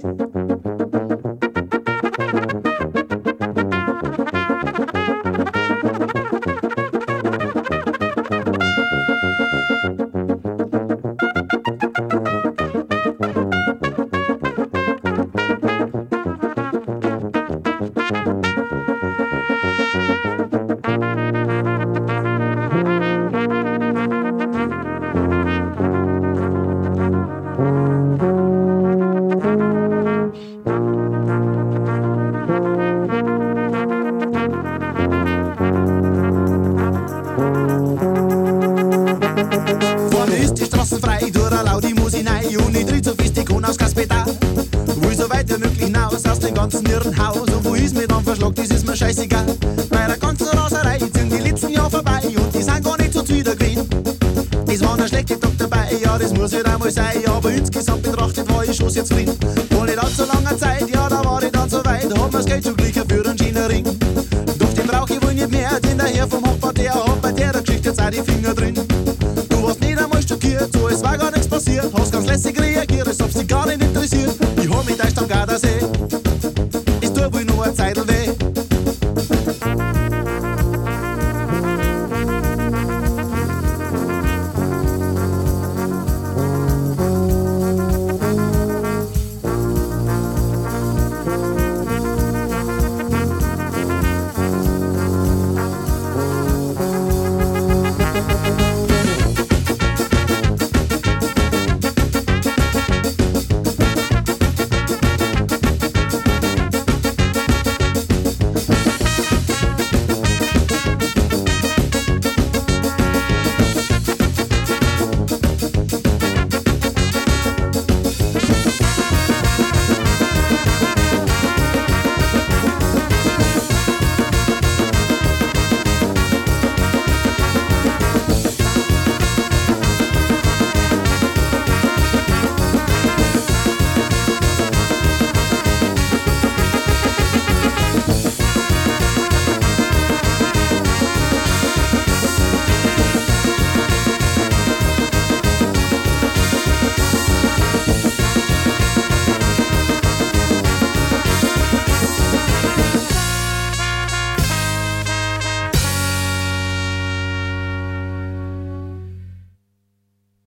Vorne ist die Straße frei, durch eine laute Musik rein und ich dreh so fest ich kann aufs Gaspedal. Will so weit wie möglich hinaus aus dem ganzen Irrenhaus und wo ist mir dann verschlagt, das ist mir scheißegal. Bei der ganzen Raserei sind die letzten Jahre vorbei und die sind gar nicht so zufrieden gewesen. Es waren ein schlechter Tag dabei, ja, das muss halt einmal sein. Aber insgesamt betrachtet war ich schon sehr zufrieden. Vor nicht allzu langer Zeit, ja, da war ich dann so weit, hab mir's Geld schon glücklicher für einen Schienenring. Doch den brauch ich wohl nicht mehr, denn daher vom Hauptquartier hab bei der Geschichte jetzt auch die Finger drin. Du warst nicht einmal schockiert, so es war gar nichts passiert. Hast ganz lässig reagiert, als ob's dich gar nicht interessiert. Ich hab mich da am Gardasee.